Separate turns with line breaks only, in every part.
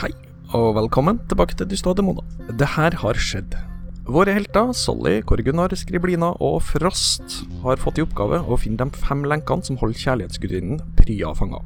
Hei, og velkommen tilbake til De stående mona. Det her har skjedd. Våre helter, Solly, Korgunar, Skriblina og Frost, har fått i oppgave å finne de fem lenkene som holder kjærlighetsgudinnen Prya fanga.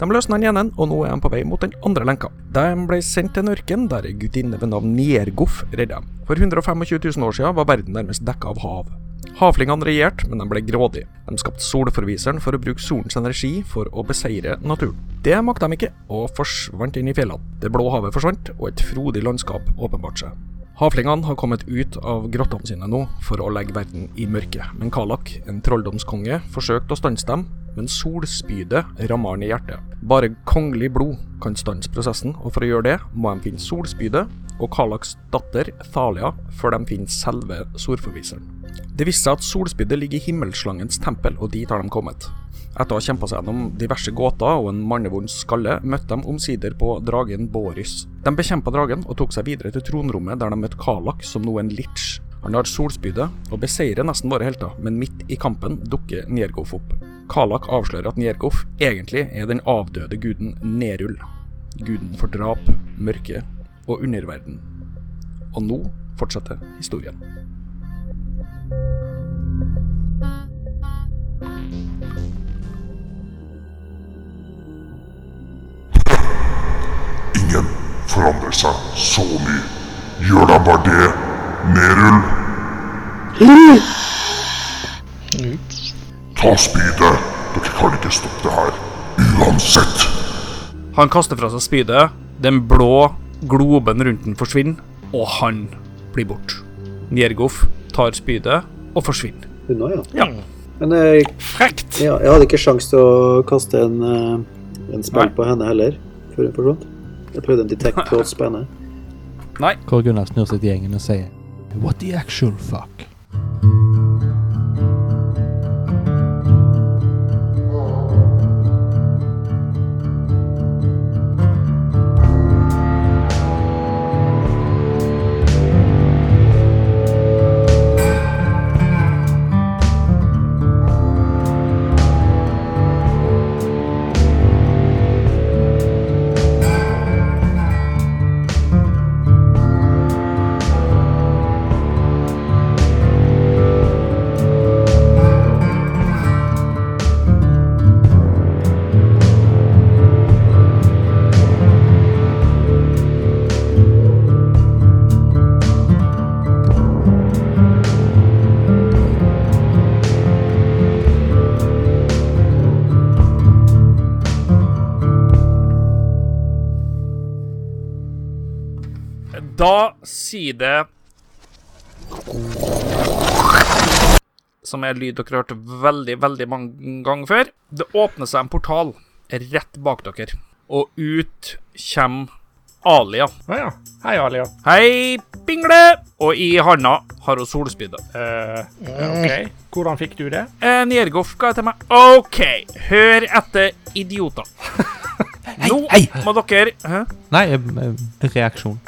De løsner den ene, og nå er de på vei mot den andre lenka. De ble sendt til en ørken der ei gudinne ved navn Niergoff redda dem. For 125 000 år siden var verden nærmest dekka av hav. Havlingene regjerte, men de ble grådige. De skapte solforviseren for å bruke solens energi for å beseire naturen. Det makta de ikke, og forsvant inn i fjellene. Det blå havet forsvant, og et frodig landskap åpenbarte seg. Havlingene har kommet ut av grottene sine nå for å legge verden i mørke, men Kalak, en trolldomskonge, forsøkte å stanse dem, men solspydet rammer han i hjertet. Bare kongelig blod kan stanse prosessen, og for å gjøre det må de finne solspydet og Kalaks datter Thalia før de finner selve solforviseren. Det viste seg at solspydet ligger i himmelslangens tempel, og dit har de kommet. Etter å ha kjempa seg gjennom diverse gåter og en mannevond skalle, møtte de omsider på dragen Boris. De bekjempa dragen og tok seg videre til tronrommet, der de møtte Kalak, som nå er en litch. Han har solspydet og beseirer nesten våre helter, men midt i kampen dukker Niergoff opp. Kalak avslører at Niergoff egentlig er den avdøde guden Nerul. Guden for drap, mørke og underverden. Og nå fortsetter historien.
Ingen forandrer seg så mye. Gjør dem bare det. Nerul, ta spydet. Dere kan ikke stoppe det her. Uansett.
Han kaster fra seg spydet, den blå globen rundt den forsvinner, og han blir borte. Niergoff tar spydet og forsvinner.
Unna, ja.
Ja.
Men jeg,
Frekt!
ja, jeg hadde ikke sjans til å kaste en, eh, en spill
Nei.
på henne heller, før hun forsvant. Jeg prøvde en detect thoughts på henne.
Kåre Gunnar snur seg til gjengen og sier What the actual fuck?
Da sier det Som er lyd dere har hørt veldig, veldig mange ganger før. Det åpner seg en portal rett bak dere, og ut kommer Alia.
Å ja. Hei, Alia.
Hei, Pingle! Og i handa har hun solspydde.
Eh, OK. Hvordan fikk du det?
Eh, Niergoff ga til meg. OK, hør etter, idioter. Nå må dere Hæ?
Nei, eh, reaksjon.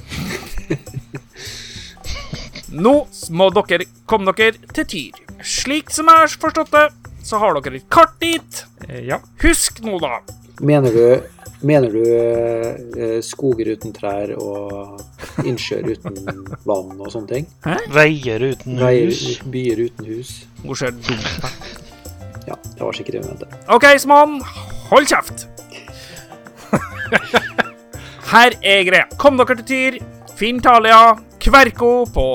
Nå må dere komme dere til Tyr. Slik som jeg har forstått det, så har dere et kart dit.
Eh, ja.
Husk nå, da.
Mener du, mener du eh, eh, skoger uten trær og innsjøer uten vann og sånne ting?
Veier uten
Veier,
hus.
byer uten hus?
Hun ser dum ut.
Ja, det var sikkert det hun mente.
OK, Sman, hold kjeft. Her er greia. Kom dere til Tyr. Finn Thalia. Kverko på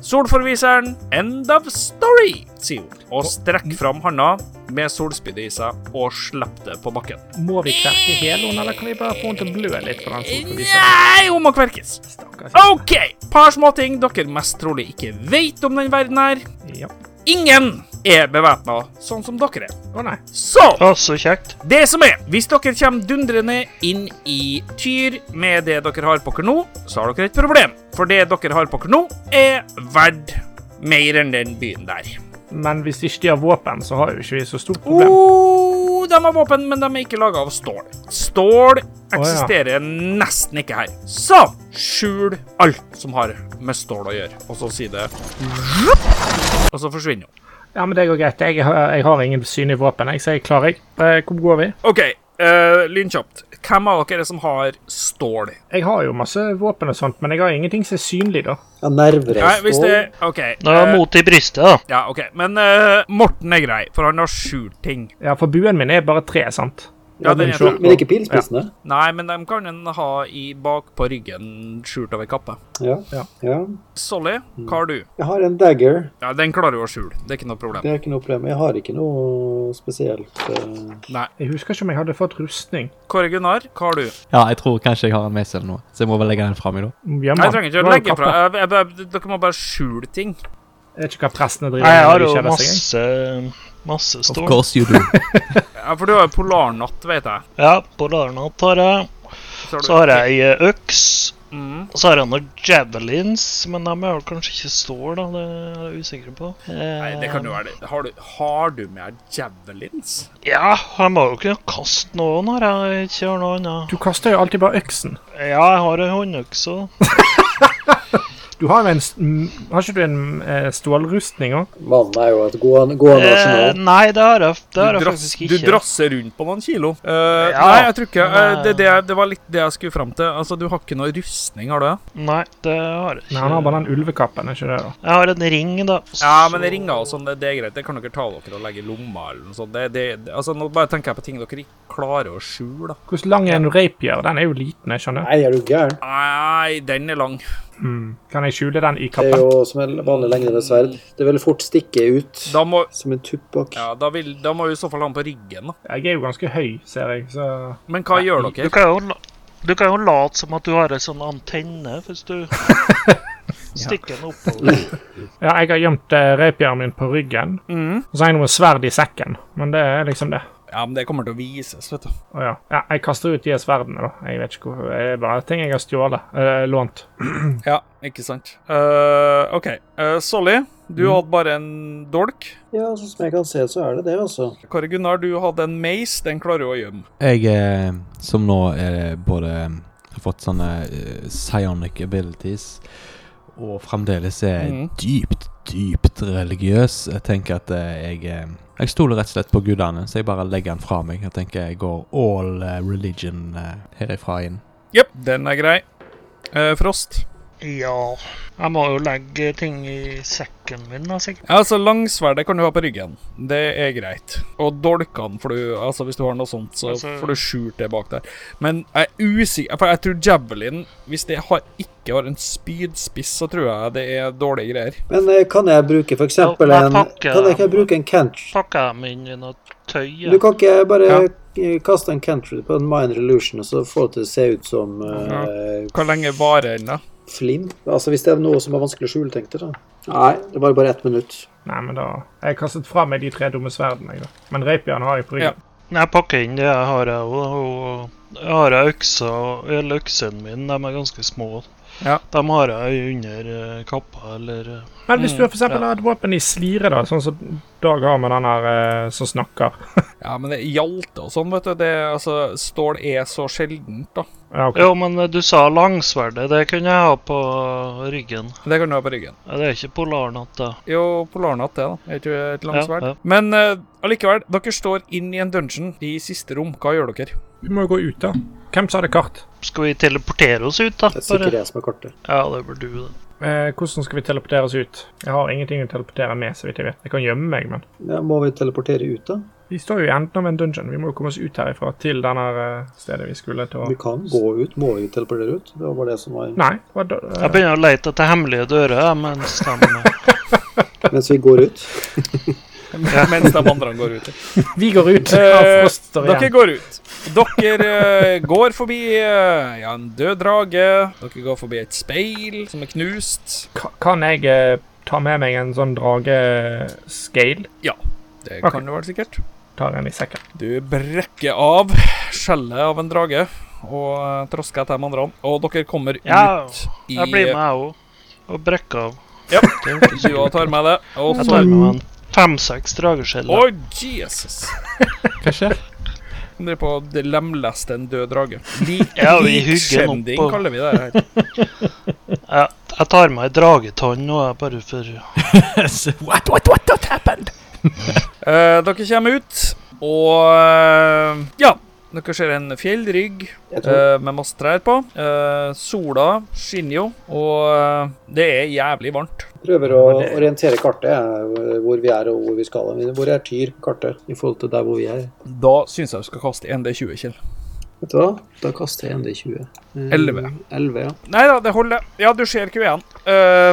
solforviseren. End of story, sier hun. Og strekk fram handa med solspydet i seg og slipp det på bakken.
Må vi kverke hele henne, eller kan vi bare få henne til å blø litt på den solforviseren?
Nei, hun må kverkes.
Stakkars.
OK, par småting dere mest trolig ikke vet om den verden her.
Ja.
Ingen er bevæpna sånn som dere er.
Å nei.
Så
Å, så kjekt.
det som er, hvis dere kommer dundrende inn i Tyr med det dere har på dere nå, så har dere et problem. For det dere har på dere nå, er verdt mer enn den byen der.
Men hvis ikke de har våpen, så har jo ikke vi så stort problem.
Oh, de har våpen, men de er ikke laga av stål. Stål eksisterer nesten ikke her. Så skjul alt som har med stål å gjøre, og så si det Og så forsvinner hun.
Ja, men det går greit. Jeg, har- jeg har ingen synlige våpen. Jeg sier klar, jeg. Eh, hvor går vi?
OK, Eh, lynkjapt. Hvem av dere som har stål?
Jeg har jo masse våpen og sånt, men jeg har ingenting som er synlig, da.
Ja, nerver
Nei,
er
hvis
stål.
det OK.
Da er
eh,
mot i brystet, da.
ja, ok. Men eh, Morten er grei, for han har skjult ting.
Ja, For buen min er bare tre, sant?
Ja, den
men,
er bra.
men ikke pilspissene.
Nei, men dem kan en ha i bak på ryggen, skjult over kappa.
Ja.
Ja.
Ja.
Solly, hva har du?
Jeg har en dagger.
Ja, Den klarer du å skjule. Det er ikke noe problem.
Det er ikke noe problem. Jeg har ikke noe spesielt eh,
Jeg husker ikke om jeg hadde fått rustning.
Kåre Gunnar, hva har du?
Ja, jeg tror kanskje jeg har en med seg eller noe, så jeg må vel legge den fram i dag.
Hjemme.
Nei, jeg trenger ikke
Du
å
har jo
legge fra
kappa.
jeg, jeg, jeg, Dere må bare skjule ting.
Jeg vet ikke hva prestene driver
Nei, jeg har
når de
jo
kjeder seg, jeg.
masse, masse
Of
stål.
course you do.
Ja, For du har jo polarnatt, vet jeg.
Ja, polarnatt har jeg.
har du-
Så har jeg ei øks.
Mhm.
Og så har jeg noen javelins, men de er vel kanskje ikke stål, da. Det er jeg usikker på.
Nei, det kan jo være det. Har du, har du med javelins?
Eh, Ja, jeg må jo kunne kaste noe når jeg ikke har noe annet.
Du kaster jo alltid bare øksen.
Ja, jeg har ei håndøks òg.
Du har jo en s- m, Har ikke du en eh, stålrustning òg?
Mannen er jo et gående gå
Eh,
nasjonal.
Nei, det har jeg, det har
du,
jeg
drass,
faktisk
du
ikke.
drasser rundt på noen kilo. Eh,
Ja.
Nei, jeg tror ikke eh,
Nei.
det, det, det var litt det jeg skulle fram til. Altså, Du har ikke noe rustning, har du? det?
Nei, det har jeg
Nei, han har
ikke.
bare den ulvekappen, er ikke det? da?
Jeg har en ring, da.
Ja, men
så-
ringer og sånn, det, det er greit. Det kan dere ta dere og legge i lomma eller noe sånt. Det, det, det, altså, nå bare tenker jeg på ting dere ikke klarer å skjule. da.
Hvordan lang er en rapier? Den er jo liten, jeg skjønner.
Nei, er du gæren?
Nei, den er lang.
Mm. Kan jeg skjule den i
Det er
kappen?
jo som en vanlig lengde sverd. Det vil fort stikke ut
Da må
som en tuppbakk.
ja, da, vil, da må vi i så fall ha den på ryggen. da.
Jeg er jo ganske høy, ser jeg, så
Men hva gjør
Du
dere?
kan jo, la- du kan jo late som at du har en sånn antenne, hvis du stikker den oppover.
Ja, jeg har gjemt eh, rapieren min på ryggen.
Mhm.
Og så har jeg noe sverd i sekken, men det er liksom det.
Ja, men det kommer til å vises, vet du.
Å ja. ja. Jeg kaster ut de sverdene, da. Jeg vet ikke hvorfor. Det er bare ting jeg har stjålet. eh, lånt.
Ja, ikke sant. Eh, OK. Eh, Solly, du hadde bare en dolk.
Ja, sånn som jeg kan se, så er det det, altså.
Kåre Gunnar, du hadde en mace. Den klarer du å gjemme.
Jeg eh, som nå er både har fått sånne eh, psionic abilities og fremdeles er
Mhm.
dypt, dypt religiøs, jeg tenker at eh, jeg eh, jeg stoler rett og slett på gudene, så jeg bare legger den fra meg. Jeg tenker jeg går all eh, religion eh, herifra inn.
Jepp, den er grei. Eh, Frost.
Ja Jeg må jo legge ting i sekken min, da, sikkert.
Ja, altså Langsverdet kan du ha på ryggen. Det er greit. Og dolkene får du Altså Hvis du har noe sånt, så
Altså-
får du skjult det bak der. Men jeg er usikker For jeg tror javelin Hvis det har, ikke har en spydspiss, så tror jeg det er dårlige greier.
Men eh, kan jeg bruke f.eks. en
Ja,
Kan
men pakke-
jeg ikke bruke en kent...
Pakker jeg dem inn i noe
Du
tøy. ja.
kan ikke bare
Ja.
eh, kaste en cantrip på en minor illusion og så få det til å se ut som eh,
Hvor lenge varer den, da?
flim? Altså Hvis det er noe som er vanskelig å skjule, tenkte jeg. da. Nei, det var bare ett minutt.
Nei, men da Jeg kastet fra meg de tre dumme sverdene, jeg, da. Men rapieren har jeg på ryggen.
Jeg pakker inn det jeg har, jeg òg. Jeg har jeg øksa Eller øksene mine, de er ganske små.
Ja.
De har jeg under eh, kappa, eller eh,
Men hvis du for eksempel har et våpen i slire, da, sånn som Dag har med den her eh, som snakker
Ja, men det er Hjalte og sånn, vet du. Det, er- altså, stål er så sjeldent, da.
Ja, ok.
Jo, men eh, du sa langsverdet. Det kunne jeg ha på ryggen.
Det kan du ha på ryggen.
Ja, Det er ikke polarnatt, da.
Jo, polarnatt, det, da. Er ikke det et
Ja,
langsverd?
ja.
Men eh, allikevel, dere står inn i en dungeon i siste rom. Hva gjør dere?
Vi må jo gå ut, da. Hvem sa det kart?
Skal vi teleportere oss ut, da?
Det er
Bare?
sikkert jeg som er kartet.
Ja, det bør du, det.
Eh, hvordan skal vi teleportere oss ut? Jeg har ingenting å teleportere med, så vidt jeg vet. Jeg kan gjemme meg, men
Ja, må vi teleportere ut, da?
Vi står jo i enden av en dungeon. Vi må jo komme oss ut herifra til denne eh, stedet vi skulle til å
Vi kan gå ut. Må vi teleportere ut? Det var bare det som var
Nei, hva da?
Jeg begynner å lete etter hemmelige dører jeg, mens de
Mens vi går ut.
Mens de andre går ut.
vi går ut! Ja,
Eh,
Frost står
Dere
igjen.
går ut. Dere eh, går forbi eh, ja, en død drage. Dere går forbi et speil som er knust.
Ka- Kan jeg eh, ta med meg en sånn dragescale?
Det
Ok.
kan du vel sikkert.
Tar en i sekken.
Du brekker av skjellet av en drage og eh, trasker etter de andre. Og dere kommer ut
Ja,
i
Jeg blir med, jeg òg. Og brekker av.
Ja.
Det hørtes
Du også
ut.
tar med det. Og
Jeg
så
tar med meg en fem-seks drageskjeller.
Oi, Jesus!
Hva skjer?
Han driver på å d- lemleste en død drage. Lik,
Ja, vi hugger den
likskjending
opp og-
kaller vi det her.
Jeg, jeg tar med ei dragetann nå, jeg, bare for
what, what, what, what happened?
Eh, dere kommer ut, og eh, Ja. Dere ser en fjellrygg
Jeg tror
eh, med masse trær på. Eh, sola skinner jo, og eh, det er jævlig varmt.
jeg prøver å orientere kartet, jeg, hvor vi er og hvor vi skal. Men Hvor er Tyr kartet i forhold til der hvor vi er?
Da syns jeg du skal kaste 1D20, Kjell.
Vet du hva? Da kaster jeg en D20. Eh,
Elleve.
Elleve, ja.
Nei da, det holder. Ja, du ser kuen. Uh,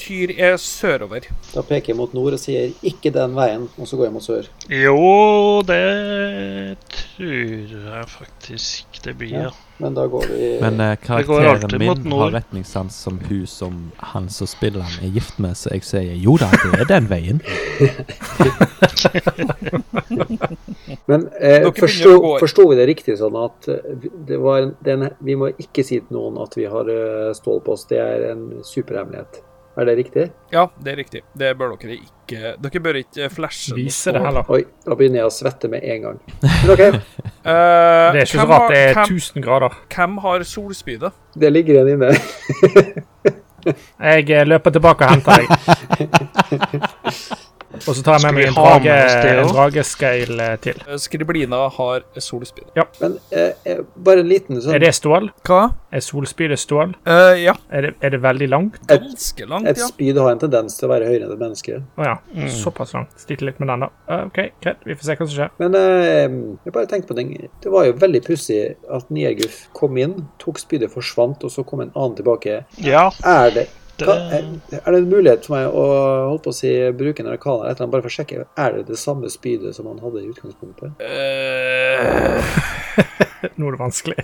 tyr er sørover.
Da peker jeg mot nord og sier 'ikke den veien', og så går jeg mot sør.
Jo, det tror jeg faktisk det blir, ja.
Men da går vi
Men eh,
går alltid
karakteren
mot
min
nord.
har retningssans som hun som han som spiller han er gift med, så jeg sier jo da, det er den veien.
Men eh,
Dere begynner å
forsto,
gå-
forsto vi det riktig sånn at eh, vi- det var en, det er en, vi må ikke si til noen at vi har eh, stål på oss? Det er en superhemmelighet. Er det riktig?
Ja, det er riktig. Det bør dere ikke Dere bør ikke flashe noe
Vise
på.
det heller.
Oi, da begynner jeg å svette med en gang. Men OK,
Eh,
Det er ikke så
hvem
rart
har-
det er
hvem-
1000 grader.
Hvem har solspydet?
det ligger en inne.
Jeg eh, løper tilbake og henter deg. Og så tar jeg med
Skal vi
meg en,
ha med
drage,
oss det
en
også?
dragescale eh, til.
Eh, Skriblina har solspyd.
Men eh, eh, bare en liten sånn
Er det stål?
Hva?
Er solspydet stål?
Eh, ja.
Er det, er det veldig langt?
Ganske langt,
Et
ja.
spyd har en tendens til å være høyere enn et menneske.
Å ja. Såpass langt. Sliter litt med den, da. Eh, OK, greit. Vi får se hva som skjer.
Men eh, jeg bare tenkte på den Det var jo veldig pussig at Nierguff kom inn, tok spydet, forsvant, og så kom en annen tilbake.
Ja,
Er det
det,
Hva- Er er det en mulighet for meg å holdt på å si, bruke en arkan eller et eller annet, bare for å sjekke er det det samme spydet som han hadde i utgangspunktet?
Eh,
Nå er det vanskelig.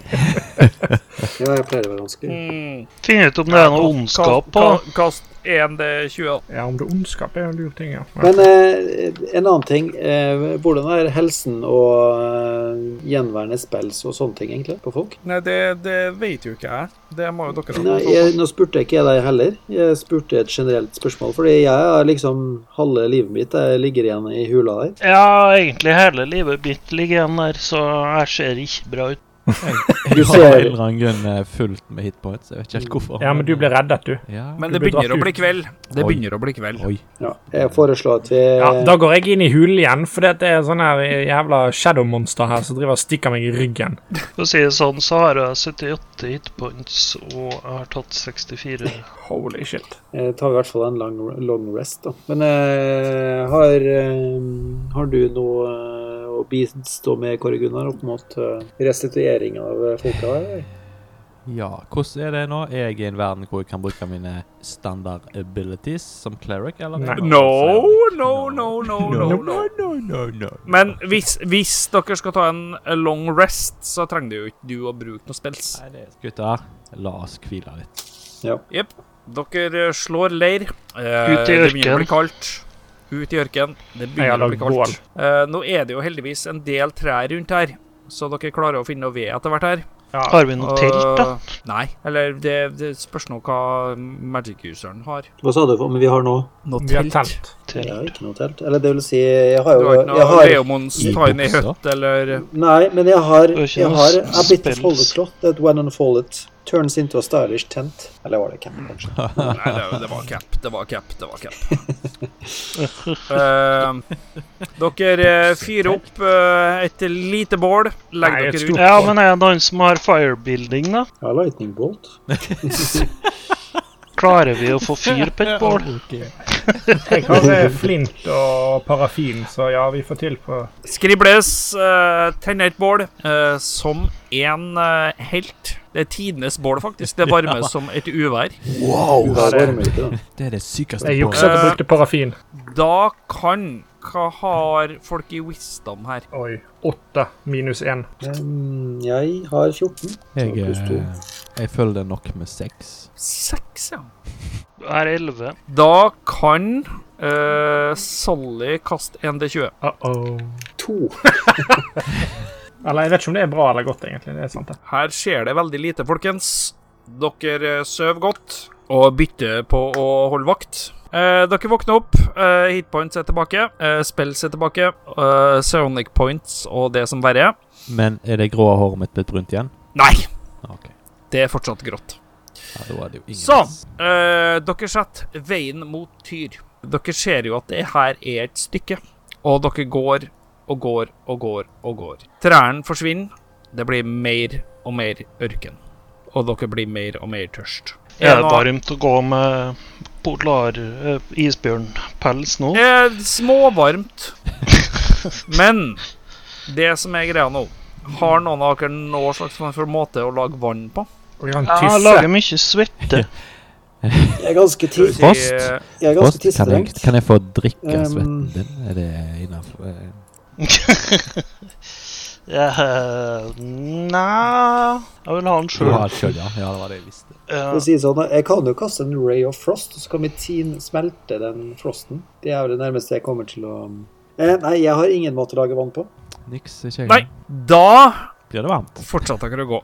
Ja, jeg pleier å være vanskelig.
mm,
Finn ut om det er noe ondskap på det.
Kast, ka- kast 1D20.
Ja, om det er ondskap er jo en lur ting, ja.
Men eh, en annen ting. Eh, hvordan er helsen og eh, gjenværende spells og sånne ting egentlig på folk?
Nei, det, det vet jo ikke jeg. Det må jo dere
Nei, jeg, nå spurte jeg ikke jeg deg heller. Jeg spurte et generelt spørsmål. Fordi jeg har liksom halve livet mitt jeg ligger igjen i hula der.
Ja, egentlig hele livet mitt ligger igjen der, så jeg ser ikke bra ut.
Du
Jeg har
ser-
av en eller annen grunn eh, fullt med hitpoints, jeg vet ikke helt hvorfor.
Ja, men du ble reddet, du.
ja.
Men
Du
det
blir
begynner
dratt
å bli
ut.
kveld. Det
Oi.
begynner å bli kveld.
Oi.
Ja, jeg foreslår at vi
Ja, Da går jeg inn i hulen igjen, for det er sånn her jævla shadow-monster her som driver og stikker meg i ryggen.
For å si det sånn, så har jeg 78 hitpoints, og jeg har tatt 64.
Holy shit.
Jeg eh, tar i hvert fall en lang, long rest, da. Men eh, har, eh, har du noe eh, å bistå med, Kåre Gunnar, opp mot eh, restituering av eh, folka her? eller?
Ja, hvordan er det nå? Er jeg i en verden hvor jeg kan bruke mine standard abilities som cleric, eller?
Nei.
No, no, no, no, no. no.
no, no, no.
Men hvis, hvis dere skal ta en long rest, så trenger det jo ikke du å bruke noe spels.
Nei, det er Gutter, la oss hvile litt.
Jepp. Dere slår leir. Eh,
Ut i
Det begynner
ørken.
å bli kaldt. Ut i ørken. Det
Jeg har
begynner å bli
lagd
kaldt. Eh, nå er det jo heldigvis en del trær rundt her, så dere klarer å finne noe ved etter hvert her.
Har vi noe telt, da?
Nei. Eller det, det spørs nå hva magic-useren har.
Hva sa du om vi har nå?
Noe
Vi har telt.
Jeg
Telt.
har ikke noe telt. Eller det vil si, jeg har
Du har
jo
ikke noe
jeg har,
Leomons
I
Tiny
buksa.
Hut eller
Nei, men jeg har
Du har ikke
Jeg
noe
har a bit of
spells.
folded cloth that when unfolded turns into a stylish tent. Eller var det camp, kanskje?
Nei, det, det var cap, det var cap, det var cap. Eh, dere eh, fyrer opp eh, et lite bål.
Nei,
Legger
et
dere
stort-
ut.
Ja, men er det noen som har firebuilding, da?
Jeg har lightning bolt.
Klarer vi å få fyr på et bål?
Jeg har eh, flint og parafin, så ja, vi får til på
Skribles uh, tenner et bål eh, som en eh, helt. Det er tidenes bål, faktisk. Det varmer som et uvær.
Wow! Det er varme ute, da.
Det er det sykeste
Jeg
på-
juksa til å bruke parafin.
Da kan Hva har folk i wisdom her?
Oi. Åtte minus én.
Um, Jeg har 14.
Jeg,
Pluss to.
eh, jeg føler det er nok med seks.
Seks, ja.
Jeg er 11.
Da kan eh, Sally kaste 1D20.
Uh-oh.
To.
Eller jeg vet ikke om det er bra eller godt, egentlig. Det er sant, det.
Her skjer det veldig lite, folkens. Dere eh, sover godt og bytter på å holde vakt. Eh, dere våkner opp. Eh, hitpoints er tilbake. Eh, spells er tilbake. Eh, Sonic points og det som verre er.
Men er det grå håret mitt blitt brunt igjen?
Nei,
Ok.
det er fortsatt grått.
Ja, da var det jo ingen
Så, eh, dere setter veien mot Tyr. Dere ser jo at det her er et stykke, og dere går og går og går og går. Trærne forsvinner. Det blir mer og mer ørken. Og dere blir mer og mer tørst.
Er det
noe-
varmt å gå med polar eh, isbjørnpels nå?
Eh, småvarmt. Men det som er greia nå Har noen av dere noen slags form for måte å lage vann på?
Jeg kan
Jeg
tisse.
lager mye svette.
Jeg er ganske, ti
Skal vi si,
Frost? Ehm,
eh,
jeg er ganske
Post, kan, jeg,
tissestrengt.
kan jeg få drikke
Um,
svetten din? Er det innafor
Eh, Nja Jeg vil ha den Eh,
Du
sjøl.
har kjøtt, ja. ja. Det var det jeg visste.
For å si det sånn, jeg kan jo kaste en Ray of Frost, og så kan vi tin smelte den frosten. Det er vel det nærmeste jeg kommer til å eh, Nei, jeg har ingen måte å lage vann på.
Niks ikke jeg.
Nei, da
Blir det varmt?
fortsetter dere å gå.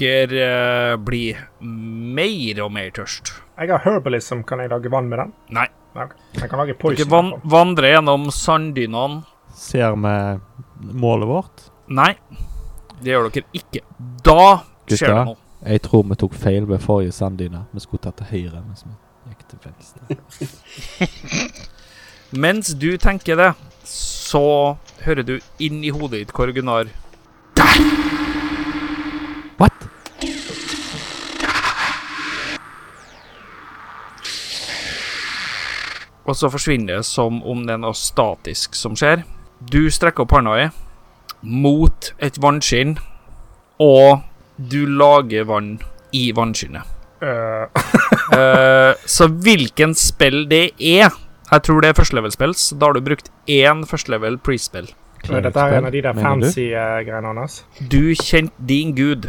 Dere eh, blir mer og mer tørst.
Jeg har herbalism. Kan jeg lage vann med den?
Nei.
Ok. Jeg kan lage
Dere
poison.
van vandrer gjennom sanddynene.
Ser vi målet vårt?
Nei, det gjør dere ikke. Da skjer det
Gutta?
noe.
Jeg tror vi tok feil ved forrige sanddyne. Vi skulle tatt til høyre. mens vi gikk til venstre.
Mens du tenker det, så hører du inn i hodet ditt, Kåre Gunnar.
What?
Og så forsvinner det som om det er noe statisk som skjer. Du strekker opp hånda di mot et vannskinn, og du lager vann i vannskinnet.
Øh,
Eh, så hvilken spill det er Jeg tror det er førstelevelspill, så da har du brukt én førstelevel pre-spill.
øh, dette er en av de der
Mener du?
fancy eh, greiene hans.
Du kjente din gud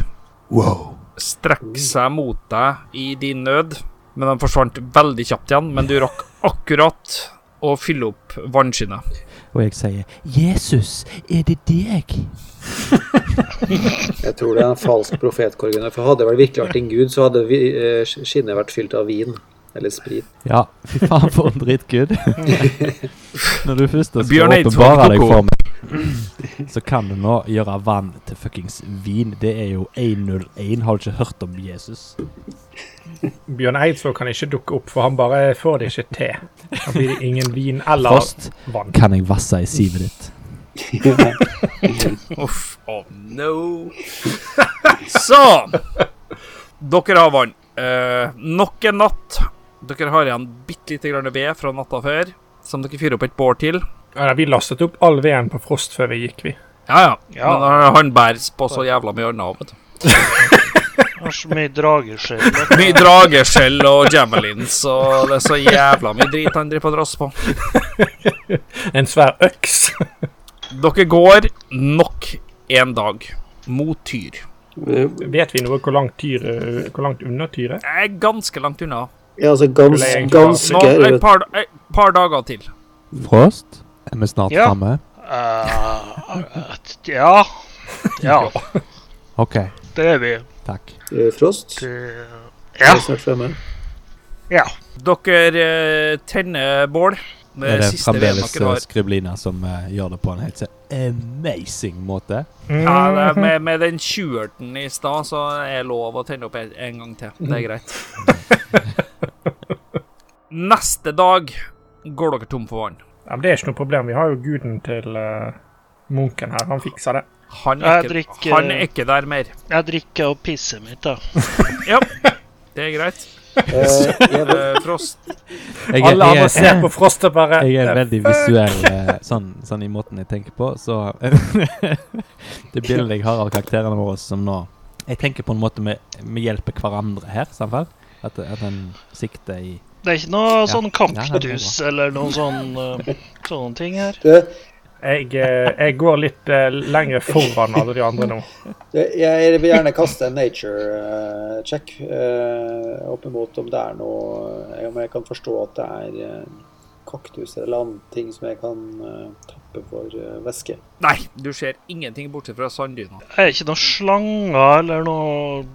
Wow.
strekke seg mot deg i din nød, men den forsvant veldig kjapt igjen. Men du rakk akkurat å fylle opp vannskinnet.
Og jeg sier 'Jesus, er det deg?'
Jeg tror det er en falsk profet, Korgen. For hadde det vel virkelig vært en gud, så hadde vi, eh, skinnet vært fylt av vin. Eller sprit.
Ja, fy faen, for en drittgud. Når du først skal
Bjørn Eidsvåg
åpenbare deg
koko.
for meg, så kan du nå gjøre vann til fuckings vin. Det er jo 101. Har du ikke hørt om Jesus?
Bjørn Eidsvåg kan ikke dukke opp, for han bare får det ikke til. Da blir det ingen vin eller
Frost,
vann.
kan jeg vasse i sivet ditt?
Uff, oh no. Så Dere har vann. Eh, nok en natt. Dere har igjen bitte lite grann ved fra natta før, som dere fyrer opp et bål til.
Ja, vi lastet opp all veden på Frost før vi gikk, vi.
Ja, ja.
Ja.
Men han bæres på så jævla mye annet. vet du.
Har så mye drageskjell.
Mye drageskjell og javelins og det er så jævla mye drit han driver på å drasse på.
En svær øks.
Dere går nok en dag mot Tyr.
Vet vi noe hvor langt, tyr, øh, hvor langt unna tyret?
Jeg er ganske langt unna.
Ja, altså gans,
Skulle jeg egentlig
Nå,
ganske
et par, et par dager til.
Frost, er vi snart
Ja.
framme?
Eh, ja. Ja,
OK,
det er vi.
takk.
eh, Frost.
Det-
Vi
Ja.
er snart fremme.
ja.
Dere eh, tenner bål. Det
Er det
Eh, siste veien
fremdeles
dere
eh,
har.
Skriblina som eh, gjør det på en helt så amazing måte?
Mm.
Ja, det er med, med den tjuerten i stad, så er det lov å tenne opp en, en gang til. Det er greit. Neste dag går dere tom for vann.
Ja, men det er ikke noe problem. Vi har jo guden til øh, munken her. Han fikser det.
Han er,
Jeg
ikke,
drikker-
han er ikke der mer.
Jeg drikker og pisser mitt, da.
Ja, det er greit.
Eh, jeg vil-
Eh, Frost
Jeg, er-
Alle
jeg,
andre
er-
ser på Frost og bare
jeg er
"Eh,
veldig visuell eh, sånn, sånn i måten jeg tenker på, så Det bildet jeg har av karakterene våre som nå Jeg tenker på en måte vi vi hjelper hverandre her, samtidig. At, at en sikter i
Det er ikke noe sånn
Nei, nei, det er
kaktus eller noe sånn eh, sånne ting her.
du,
Jeg, eh, jeg går litt eh, lenger foran alle de andre nå.
Jeg jeg vil gjerne kaste en nature eh, check eh, opp imot om det er noe eh, Om jeg kan forstå at det er eh, kaktuser eller andre ting som jeg kan eh, tappe for eh, væske.
Nei, du ser ingenting bortsett fra sanddyna.
Det er ikke noe slanger eller noe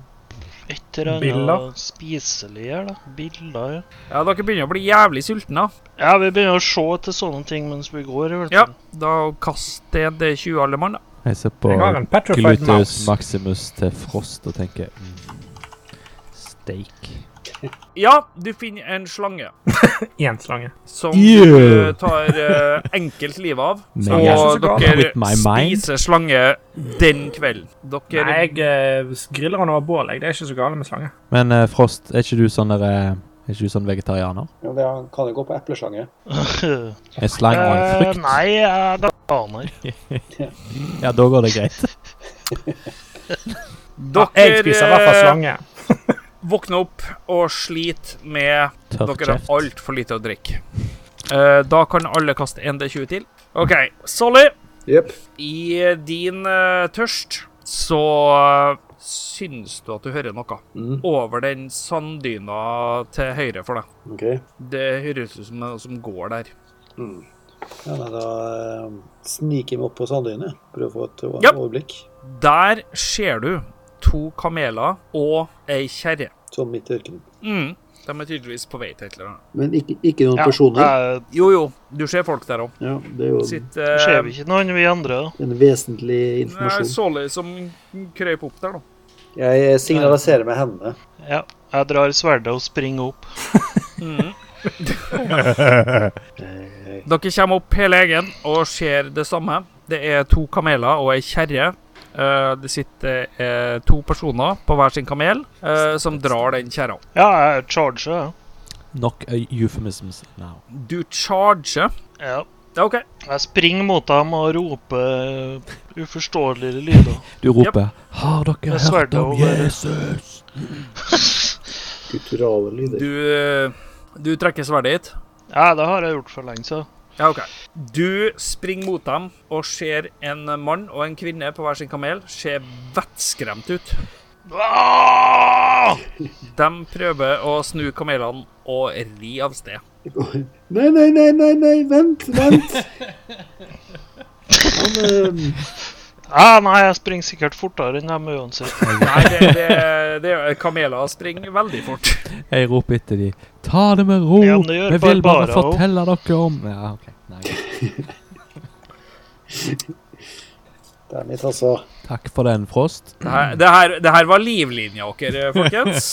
et eller
Biller?
annet spiselig her, da. Biller, ja.
Ja, dere begynner å bli jævlig sultne.
Ja, vi begynner å se etter sånne ting mens vi går. Vet du.
Ja, da kast det til 20 alle mann, da.
Jeg ser på
Jeg har en petrified
Gluteus
mouse.
Maximus til Frost og tenker mm, Steak.
Ja, du finner en slange
Én slange.
som
Yeah.
du tar eh, enkelt livet av.
Men
Og
jeg-
dere
With my mind.
spiser slange den kvelden. Dere
Nei, jeg eh, griller den over bål. Jeg. Det er ikke så galt med slange.
Men eh, Frost, er ikke du sånn der, eh, Er ikke du sånn vegetarianer?
Jo, det er- kan jo gå på epleslange.
Er slang og en
Eh,
frukt?
nei, jeg er veganer.
Ja, da går det greit.
dere eh,
Jeg spiser i hvert fall slange.
våkner opp og sliter med
Tørr
Dere har
kjeft.
altfor lite å drikke. Eh, da kan alle kaste 1D20 til. OK, Solly.
Jepp.
I din eh, tørst så eh, syns du at du hører noe
Mm.
over den sanddyna til høyre for deg.
OK.
Det høres ut som noe som går der.
Ja, nei, da eh, sniker jeg meg opp på sanddynet. Prøver å få et o-
Japp.
overblikk.
Der ser du to kameler og ei kjerre.
Sånn midt i ørkenen.
Mm. De er tydeligvis på vei til et eller annet.
Men ikke, ikke noen
Ja,
personer.
eh,
Jo, jo, du ser folk der òg.
Ja, det er jo
Sitter
det ser vi
eh,
ikke noen, vi andre. da.
en vesentlig informasjon.
Solly som krøp opp der, da.
Jeg signaliserer med hendene.
Ja, jeg drar sverdet og springer opp.
Dere kommer opp hele egen og ser det samme. Det er to kameler og ei kjerre. Eh, det sitter eh, to personer på hver sin kamel eh, som drar den kjerra.
Ja, jeg charger.
Nok eh, euphemisms now.
Du charger.
jeg. Ja.
Ja, OK.
Jeg springer mot dem og roper uforståelige lyder.
Du roper 'Har dere
Jeg
hørt
sverger
om
over-
Jesus?'
Kulturale lyder.
Du, eh, du trekker sverdet ditt.
Ja, det har jeg gjort for lenge siden.
Ja, OK. Du springer mot dem og ser en mann og en kvinne på hver sin kamel. Ser vettskremt ut.
Ah!
De prøver å snu kamelene og ri av sted.
Nei, nei, nei, nei, nei, vent, vent! Han, eh,
Ja, nei, jeg springer sikkert fortere enn dem uansett.
Nei, det, det, det, kameler springer veldig fort.
Jeg roper etter de 'Ta det med ro',
Ja, men det gjør
vi vil bare
barbarer også.»
fortelle dere om Ja, OK. Nei, greit.
det er mitt, altså.
Takk for den, Frost.
Det her, det her, det her var livlinja dere, folkens.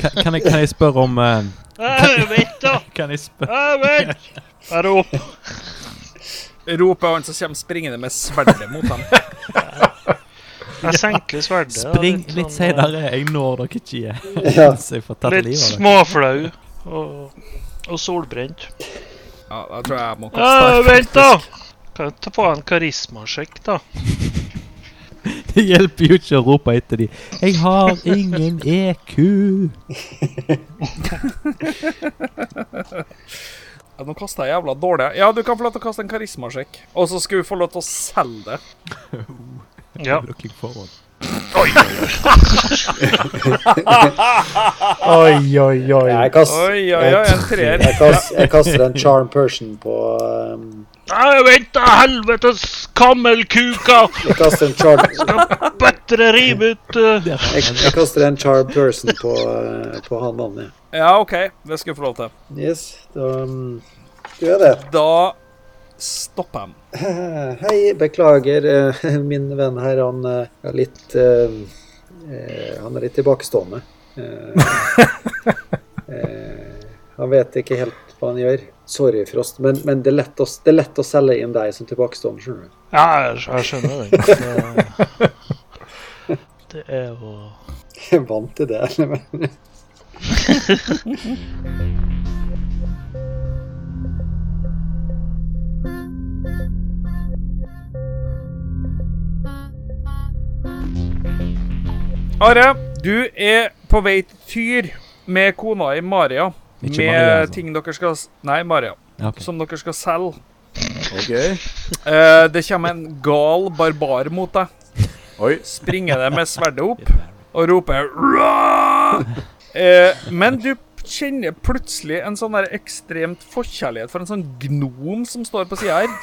Kan, kan, jeg, kan jeg spørre om eh,
Eh, Vent, da!
Kan jeg spørre
Eh, Vent! Jeg roper.
Roper han som kommer springende med sverdet mot ham.
Jeg senker sverdet. jeg er
Spring
sånn,
litt senere, jeg når dere ikke igjen.
Ja.
Så jeg får
eh,
tatt
Litt
livet av dere.
småflau og, og solbrent.
Ja, da tror jeg jeg må kaste
Eh,
her,
Vent, da!
faktisk.
Kan jeg ta på en karismasjekk, da?
Det hjelper jo ikke å rope etter de 'Jeg har ingen E EQ'.
Ja, nå kasta jeg jævla dårlig. Ja, du kan få lov til å kaste en karismasjekk. Og så skal vi få lov til å selge det.
Ja.
Looking forward.
Oi, oi, oi.
Jeg, kast,
Oi, oi, oi, en treer.
jeg, kast, jeg kaster en charm person på eh,
Eh, Vent, da! Helvetes kammelkuka!
Jeg kaster en charm
Bedre riv ut eh,
Jeg, jeg kaster en charm person på, eh, på han mannen. ja.
Ja, OK, det skal vi få lov til.
Yes, da um, gjør jeg det.
Da stopper han.
Eh, Hei, beklager. eh, Min venn her, han eh, er litt eh, eh, Han er litt tilbakestående. Eh, eh, Han vet ikke helt hva han gjør. Sorry, Frost, men, men det, er lett å, det er lett å selge inn deg som tilbakestående, skjønner du.
Ja, jeg, jeg skjønner den. Det- Det er jo
Jeg er vant til det. eller, men-
Are, du er på vei til Tyr med kona i Maria.
Ikke
med
Maria, altså.
ting dere skal s- Nei, Maria.
Ja, ok.
Som dere skal selge.
OK.
Eh, det kommer en gal barbar mot deg.
Oi.
Springer deg med sverdet opp og roper «Rå!» eh, Men du kjenner plutselig en sånn der ekstremt forkjærlighet for en sånn gnom som står på sida her.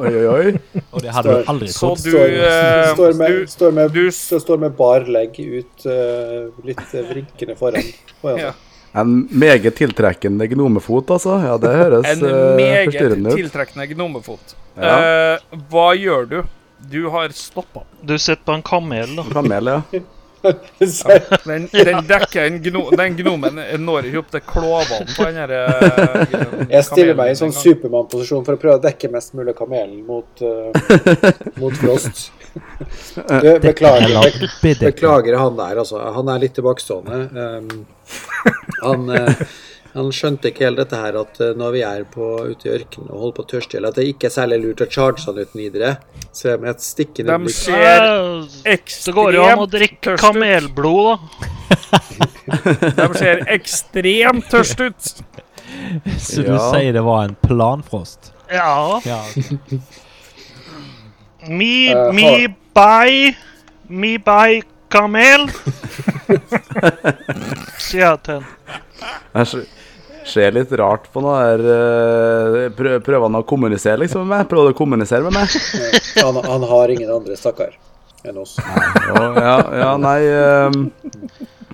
Oi, oi, oi.
Og det hadde du aldri
Så
trodd.
du,
Står-
eh,
står med,
du
står med,
du-
så står med bar legg ut, eh, litt eh, vrinkende foran. foran
Ja.
seg.
En meget tiltrekkende gnomefot, altså. Ja, det høres
En
eh,
meget
forstyrrende ut.
tiltrekkende gnomefot.
Ja.
Eh, hva gjør du? Du har stoppa.
Du sitter på en kamel, da.
Kamel, ja.
Så-
Den, den dekker en gno, Den gnomen når ikke opp til klovene på den her eh, kamelen
Jeg stiller meg i
den
sånn
gangen.
Supermann-posisjon for å prøve å dekke mest mulig kamelen mot, eh, mot Frost. Du, beklager.
Eller
Bek
bidder.
beklager han der, altså. Han er litt tilbakestående. Ehm, han, eh, han skjønte ikke helt dette her at eh, når vi er på, ute i ørkenen og holder på å tørste i hjel, at det ikke er særlig lurt å charge han uten videre. Så jeg med et stikkende
De
blikk
ser
Eh, Det går jo an å
ekstremt
drikke
tørst ut.
kamelblod, da.
De ser ekstremt tørst ut.
Så du
Ja.
sier det var en planfrost?
Ja.
Ja.
Me,
Eh,
me, buy Me, buy kamel. Sier jeg til han.
Jeg ser- ser litt rart på noe her eh, prø Prøver han å kommunisere liksom med meg? Prøver han å kommunisere med meg?
Han, han har ingen andre, stakkar, enn oss.
Ja, ja, ja nei ehm,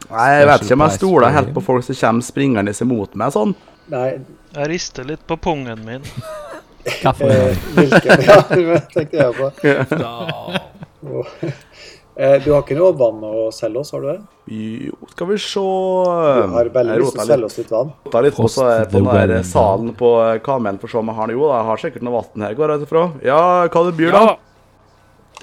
Nei, jeg vet ikke om jeg stoler helt på folk som kommer springende imot meg sånn.
Nei,
Jeg rister litt på pungen min.
Kaffe.
Eh, Hvilken? Ja, det tenkte jeg på. Og- Eh, Du har ikke noe vann å selge oss, har du det?
Jo, skal vi se ehm,
Du har veldig
Um, Jeg
lyst til
rota
å selge
litt,
oss litt vann.
rota litt på, så er jeg
Post the
på den her
well.
salen på eh, kamelen for å se om jeg har noe. Jo da, jeg har sikkert noe vann her, går jeg ut ifra. Ja, hva du byr,
Ja,
da?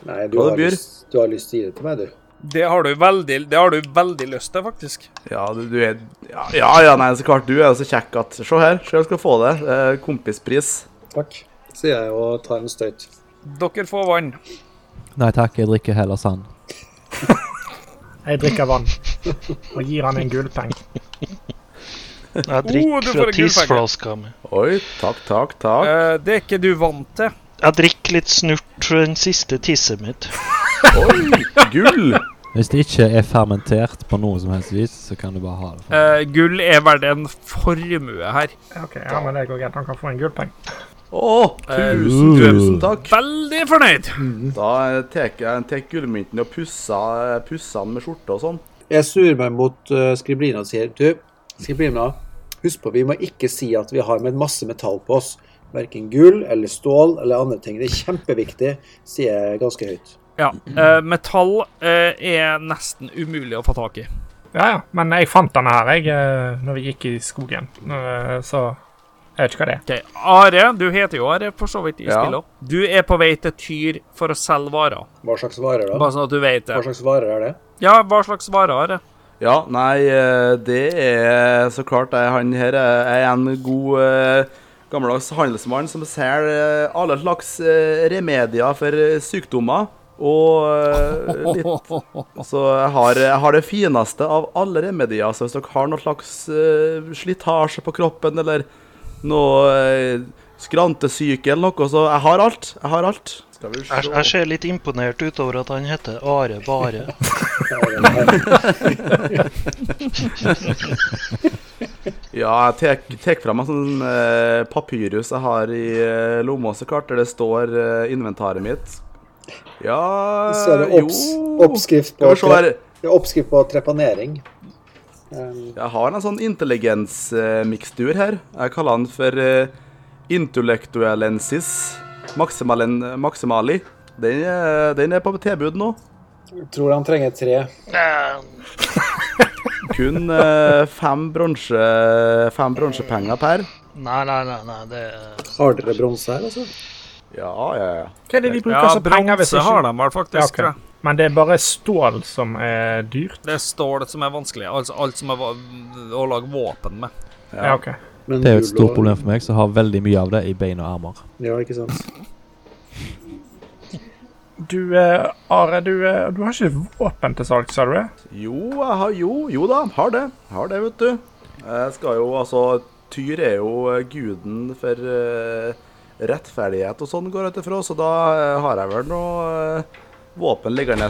Nei, du
Hva det
har,
byr?
lyst, du har lyst til å gi det til meg, du.
det har du veldig, det har du veldig lyst til, faktisk.
Ja, du, du er ja, ja, ja, nei, så klart du er jo så kjekk at Se her, så jeg skal få det. Eh, Kompispris.
Takk, sier jeg og tar en støyt.
Dere får vann.
Nei takk, jeg drikker heller sand.
Jeg drikker vann og gir han en gullpeng.
Jeg
Oh, du
drikker
får en
fra
gul farge.
tisflaska mi.
Oi, takk, takk, takk.
Eh, det er ikke du vant til.
Jeg drikker litt snurt fra den siste tisset mitt.
Oi, gull!
Hvis det ikke er fermentert på noe som helst vis, så kan du bare ha det.
Eh, gull er verdt en formue her.
Ok, ja, men det går greit. Han kan få en gullpeng.
Å, tusen,
Eh,
tusen takk.
Veldig fornøyd.
Da eh, tek jeg tek gullmynten og pusser, pusser den med skjorte og sånn.
Jeg snur meg mot eh, Skriblina og sier, du, Skriblina, husk på, vi må ikke si at vi har med masse metall på oss. Hverken gull eller stål eller andre ting. Det er kjempeviktig, sier jeg ganske høyt.
Ja, eh, metall eh, er nesten umulig å få tak i.
Ja, ja. Men jeg fant denne her, jeg, eh, når vi gikk i skogen. Eh, Så jeg vet ikke hva det er.
Ok, Are, du heter jo Are for så vidt i
Ja.
spillet. også. Du er på vei til Tyr for å selge varer.
Hva slags varer da?
Bare sånn at du vet
Hva
det.
slags varer er det?
Ja, hva slags varer er det?
Ja, nei, eh, det er så klart jeg, han her er er en god eh, gammeldags handelsmann som selger eh, alle slags eh, remedier for eh, sykdommer. Og eh, litt Så jeg har, jeg har det fineste av alle remedier. Så hvis dere har noe slags eh, slitasje på kroppen eller noe eh, skrantesyke eller noe, så jeg har alt. Jeg har alt. Skal vi
Jeg, jeg ser litt imponert ut over at han heter Are Vare.
Ja, jeg tek, tek fram en sånn eh, papyrus jeg har i eh, lomma, så klart, der det står eh, inventaret mitt. Ja
Så er det opps
jo.
oppskrift på
Skal vi se her.
Det er oppskrift på trepanering. Um,
Jeg har en sånn intelligensmikstur her. Jeg kaller den for eh, intellektualensis maximalen, maximali. Den er, den er på tilbud nå.
tror han trenger et tre.
Eh,
Kun eh, fem, bronse, fem bronsepenger per.
Nei, nei, nei, nei det er
Har dere bronse her, altså?
Ja, ja, ja.
Hva er det de bruker
Ja,
som penger hvis
bronse
ikke
har de vel faktisk,
Ja, ok.
tror jeg.
Men det er bare stål som er dyrt?
Det er stål som er vanskelig. Altså alt som er va- å lage våpen med.
Ja, ok.
Men
Det er jo et
gull og-
stort problem for meg, som har veldig mye av det i bein og armer.
Ja, ikke sant.
Du, eh, Are, du, eh, du har ikke våpen til salg, sa du det?
Jo, jeg har, jo, jo da, har det. Har det, vet du. Jeg skal jo, altså Tyr er jo eh, guden for eh, rettferdighet og sånn, går jeg ut ifra, så da eh, har jeg vel noe eh, våpen liggende.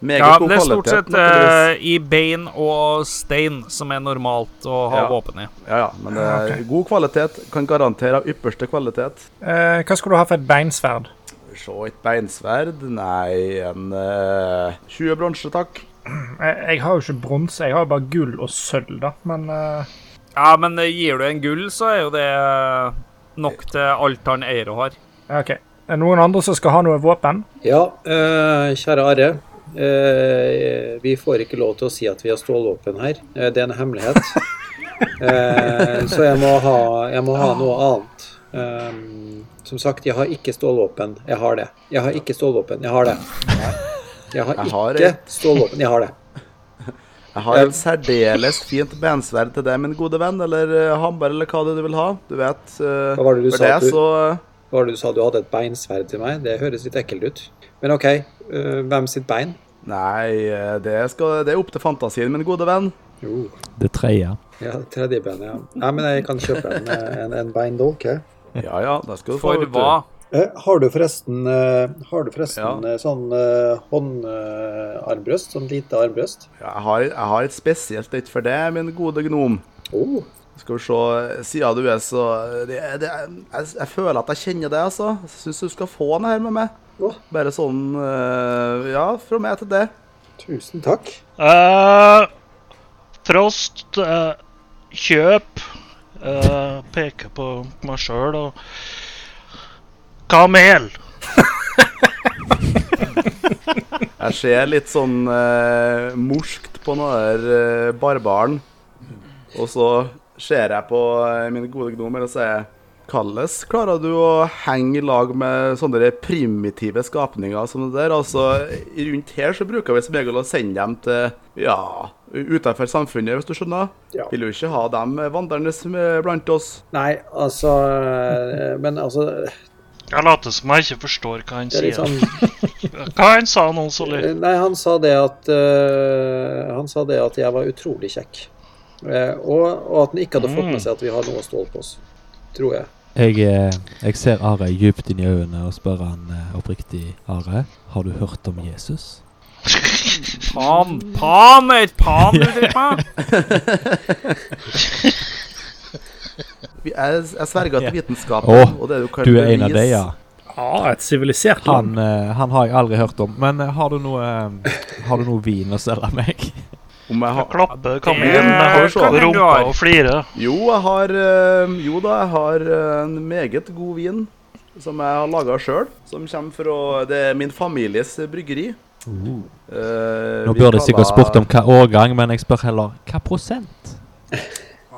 Meget
Ja,
god
det er stort
kvalitet,
sett
naturligvis.
eh, i bein og stein som er normalt å ha
Ja.
våpen i.
Ja, ja, men det er god kvalitet. Kan garantere av ypperste kvalitet.
Eh, hva skulle du ha for et beinsverd?
Se, et beinsverd Nei, en eh, 20 bronse, takk.
Jeg, Eh, jeg har jo ikke bronse, jeg har jo bare gull og sølv, da. Men eh,
Ja, men eh, gir du en gull, så er jo det eh, nok til alt han eier og har.
ja, OK. Er det noen andre som skal ha noe våpen?
Ja, eh, kjære Are. Eh, vi får ikke lov til å si at vi har stålvåpen her. Eh, det er en hemmelighet. Eh, så jeg må ha, jeg må ha noe annet. Eh, som sagt, jeg har ikke stålvåpen. Jeg har det. Jeg har ikke stålvåpen. Jeg har det. Jeg har
Jeg
ikke
har det.
stålvåpen. Jeg har det.
Jeg har et særdeles fint bensverd til deg, min gode venn, eller eh, hambar, eller hva det er du vil ha. Du vet eh,
Hva var det du
for
sa at du-
så eh,
Hva var det du sa? Du hadde et beinsverd til meg? Det høres litt ekkelt ut. Men OK, eh, hvem sitt bein?
Nei, eh, det, skal, det er opp til fantasien, min gode venn.
Jo,
Det tredje.
ja, tredje ben, ja. Nei, men jeg kan kjøpe en, eh, en, en beindolk, jeg.
Ja ja, da skal du få
For
vet du.
hva?
Eh, Har du forresten, eh, har du forresten
Ja.
eh, sånn eh, håndarmbrøst? Sånn lite armbrøst?
Ja, Jeg har, jeg har et spesielt et for deg, min gode gnom.
Oh.
Skal vi se eh, Siden du er så eh, det, det, jeg, jeg føler at jeg kjenner deg, altså. Jeg syns du skal få den her med meg.
Å.
Bare sånn eh, Ja, fra meg til deg.
Tusen takk.
Eh, Frost, eh, kjøp. eh, peker på meg sjøl og Kamel!
Jeg ser litt sånn eh, morskt på den der eh, barbaren. Og så ser jeg på eh, mine gode gnomer og sier Hvordan klarer du å henge i lag med sånne der primitive skapninger som det der? Altså, rundt her så bruker vi som regel å sende dem til Ja, utenfor samfunnet, hvis du skjønner.
Ja.
Vil jo ikke ha dem vandrende som er blant oss.
Nei, altså eh, Men altså,
Jeg later som jeg ikke forstår hva han
det er litt
sier.
sånn
Hva han sa nå, Solly?
Nei, han sa det at eh, Han sa det at jeg var utrolig kjekk. Eh, og, og at han ikke hadde fått med seg at vi har noe stål på oss. Tror jeg.
Jeg, eh, jeg ser Are djupt inn i øynene og spør han eh, oppriktig Are, har du hørt om Jesus?
Pan, pan, er et pan du driver med?
Vi- Jeg, jeg sverger til vitenskapen.
Å,
og det du, kan
Du er en av
bevise-
de, ja.
Ja, et sivilisert land.
Han, eh, han har jeg aldri hørt om. Men eh, har du noe, eh, har du noe vin å selge meg?
Om
Eh,
jeg har,
Klapper
Det
kamelen med
kan
håret
sånn
hende
du
rumpa
har.
og flirer.
Jo, jeg har eh, Jo da, jeg har eh, en meget god vin som jeg har laga sjøl. Som kommer fra Det er min families bryggeri. Eh,
Nå burde jeg sikkert spurt om hva årgang, men jeg spør heller hva prosent?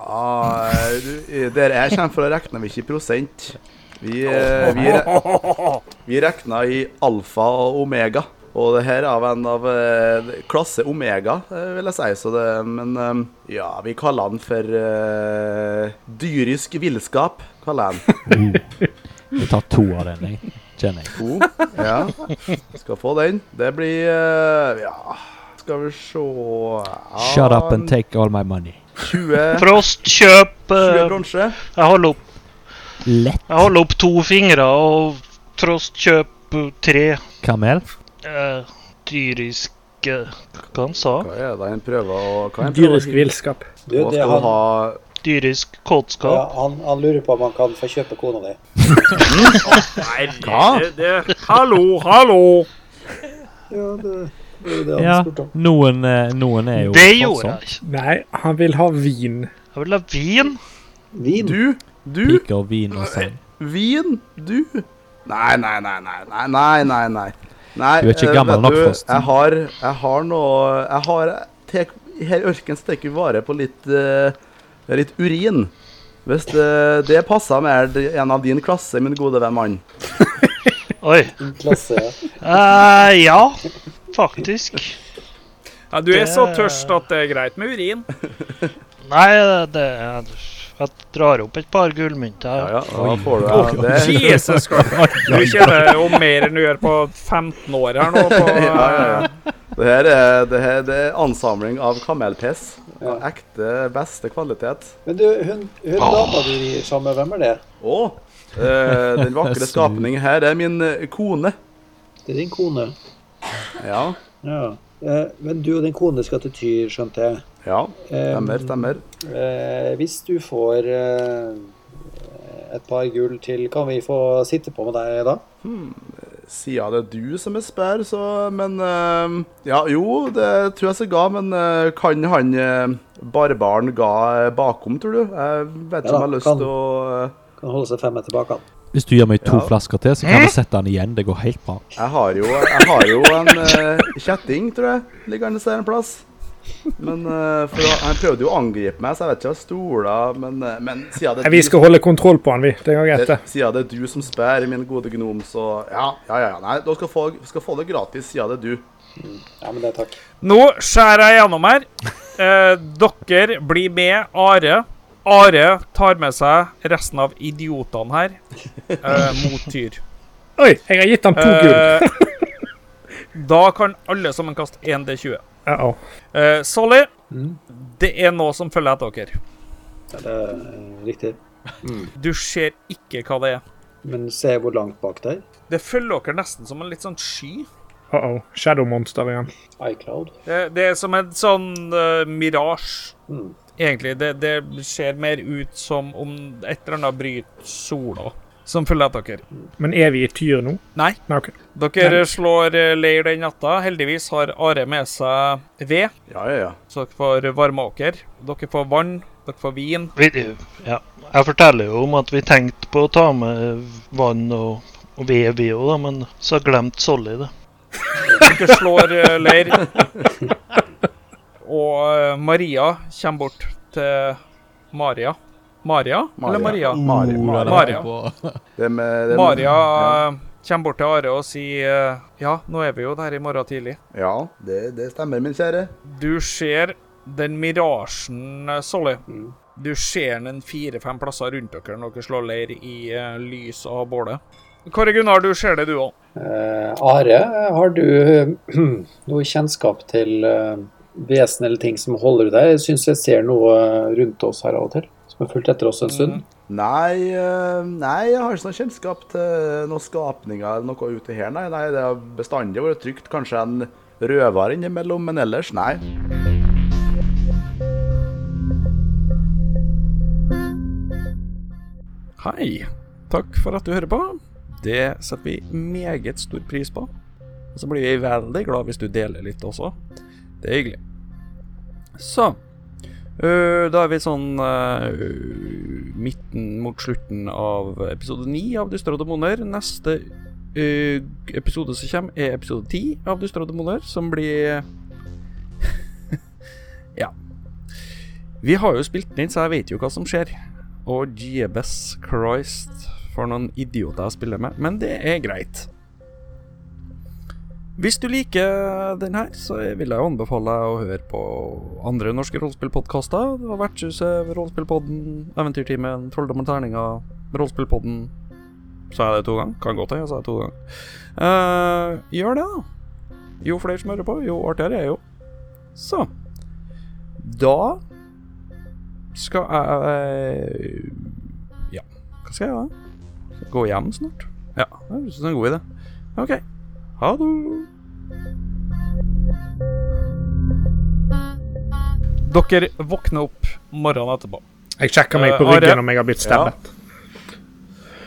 ah, du, Der jeg kommer fra, regner vi ikke i prosent. Vi, eh, vi, re vi regna i alfa og omega. Og det her er av en av eh, klasse omega, eh, vil jeg si. Så det, men eh, ja, vi kaller den for eh, dyrisk villskap, kaller jeg den.
Jeg tar to av den, jeg. Kjenner jeg.
To. Ja. Skal få den. Det blir eh, Ja, skal vi se ja,
Shut up and take all my money.
20,
Frost, kjøp
20
eh,
bronse.
Jeg holder opp,
Lett
jeg holder opp to fingre, og Frost, kjøp eh, tre
kamel.
eh, dyriske Hva han sa
Hva er det han prøver å hva er det han prøver å-
Dyrisk villskap.
Du,
Hva
det,
skal du
han,
ha
Dyrisk
ja,
kåtskap.
han, han lurer på om han kan få kjøpe kona di.
Nei, det, det, hallo, hallo!
Ja, det, det er jo det han
Ja,
spurte om.
noen, eh, noen er jo
Det gjorde jeg ikke.
Nei, han vil ha vin.
Jeg vil ha vin.
Vin.
Du? Du?
Piker, vin og sang.
Vin? Du? Nei, nei, nei, nei, nei, nei, nei. nei. Nei,
Du er ikke
eh,
gammel
vet
nok,
du,
Frost.
Jeg har, jeg har noe Jeg har tek, Her i ørkenen så tar vi vare på litt, eh, litt urin. Hvis det, det passer mer til en av din klasse, min gode venn mann.
Oi.
Klasse.
Eh, ja, faktisk.
Ja, du er så
Det-
tørst at det er greit med urin.
Nei, det er Jeg drar opp et par gullmynter.
ja, da får du ja, det.
Jesus Christ. Du kjenner jo mer enn du gjør på 15 år her nå. På,
Ja, ja, ja. Det her er, det her det er ansamling av kamelpiss. Av
Ja.
ekte beste kvalitet.
Men du, hun, hun dama du gir sammen med, hvem er det?
Å, eh, den vakre skapningen her er min eh, kone.
Det er din kone.
Ja,
Ja. Eh, men du og din kone skal til Tyr, skjønte jeg.
ja.
Eh,
Stemmer, stemmer.
eh, hvis du får eh, et par gull til, kan vi få sitte på med deg da?
Siden det er du som jeg spør, så Men eh, Ja, jo, det tror jeg så ga, men eh, kan han eh, barbaren ga eh, bakom, tror du? Jeg vet
Ja da,
ikke om jeg har lyst
kan.
til å eh,
Kan holde seg fem meter bak han.
Hvis du gir meg to
Ja.
flasker til, så kan du sette den igjen. Det går helt bra.
Jeg har jo, jeg har jo en eh, kjetting, tror jeg. Ligger han et sted en plass. Men eh, for, å- Han prøvde jo å angripe meg, så jeg vet ikke om jeg stoler men, eh, men siden det,
Vi skal holde kontroll på han, vi. Det går
er
greit,
du,
det.
siden det er du som spør, min gode gnom, så ja, ja, ja. Nei, du skal, få- skal få det gratis, siden det er du.
Ja, men det takk.
Nå skjærer jeg gjennom her. Eh, dere blir med Are. Are tar med seg resten av idiotene her eh, mot Tyr.
Oi, jeg har gitt han to gull.
Eh, da kan alle sammen kaste 1D20.
Uh -oh.
Eh, Solly,
Mm.
det er noe som følger etter dere.
Ja, det er eh, riktig.
Du ser ikke hva det er.
Men se hvor langt bak der.
Det følger dere nesten som en litt sånn sky.
Uh -oh. Shadow monster igjen.
iCloud.
Det, det er som en sånn uh, mirasje.
Mm.
Egentlig. Det, det ser mer ut som om et eller annet bryter sola, som følger etter dere.
Men er vi i Tyr nå?
Nei.
Nei, ok.
Dere slår eh, leir den natta. Heldigvis har Are med seg ved,
Ja, ja, ja.
så dere får varma dere. Dere får vann, dere får vin.
Vi, ja. Jeg forteller jo om at vi tenkte på å ta med vann og, og ved, vi òg, da, men så glemte Solly det.
Dere slår eh, leir. Og eh, Maria kommer bort til Maria. Maria? Eller Maria?
Mari, Mari.
Maria.
Det er med, det er med-
Maria
Ja,
eh, kommer bort til Are og sier eh, Ja, nå er vi jo der i morgen tidlig.
ja det, det stemmer, min kjære.
Du ser den mirasjen, eh, Solly.
Mm.
Du ser den fire-fem plasser rundt dere når dere slår leir i eh, lys av bålet. Kåre Gunnar, du ser det, du òg.
Eh, Are, har du eh, noe kjennskap til eh, vesen eller ting som holder deg? Jeg syns jeg ser noe eh, rundt oss her av og til, som har fulgt etter oss en
Mm.
stund.
Nei, eh, nei, jeg har ikke noe kjennskap til noen skapninger eller noe ute her, nei. nei det har bestandig vært trygt. Kanskje en røver innimellom, men ellers, nei.
Hei. Takk for at du hører på. Det setter vi meget stor pris på. Og så blir vi veldig glad hvis du deler litt også. Det er hyggelig. Så øh, Da er vi sånn øh, midten mot slutten av episode ni av Dyster og demoner. Neste øh, episode som kommer, er episode ti av Dyster og demoner, som blir Ja. Vi har jo spilt den inn, så jeg vet jo hva som skjer. Og Jebes Christ for noen idioter jeg spiller med, men det er greit. Hvis du liker den her, så vil jeg jo anbefale å høre på andre norske rollespillpodkaster. Det var Vertshuset, Rollespillpodden, Eventyrtimen, Trolldom og terninger, Rollespillpodden. Sa jeg det to ganger? Kan godt hende jeg sa det to ganger. Eh, gjør det, da. Jo flere som hører på, jo artigere er det jo. Så Da skal jeg Ja, hva skal jeg gjøre? Skal jeg Gå hjem snart? Ja, det høres ut som en god idé. OK. Ha det.
Dere våkner opp morgenen etterpå.
Jeg sjekker meg på
Eh, Are?
ryggen om jeg har blitt stabbet.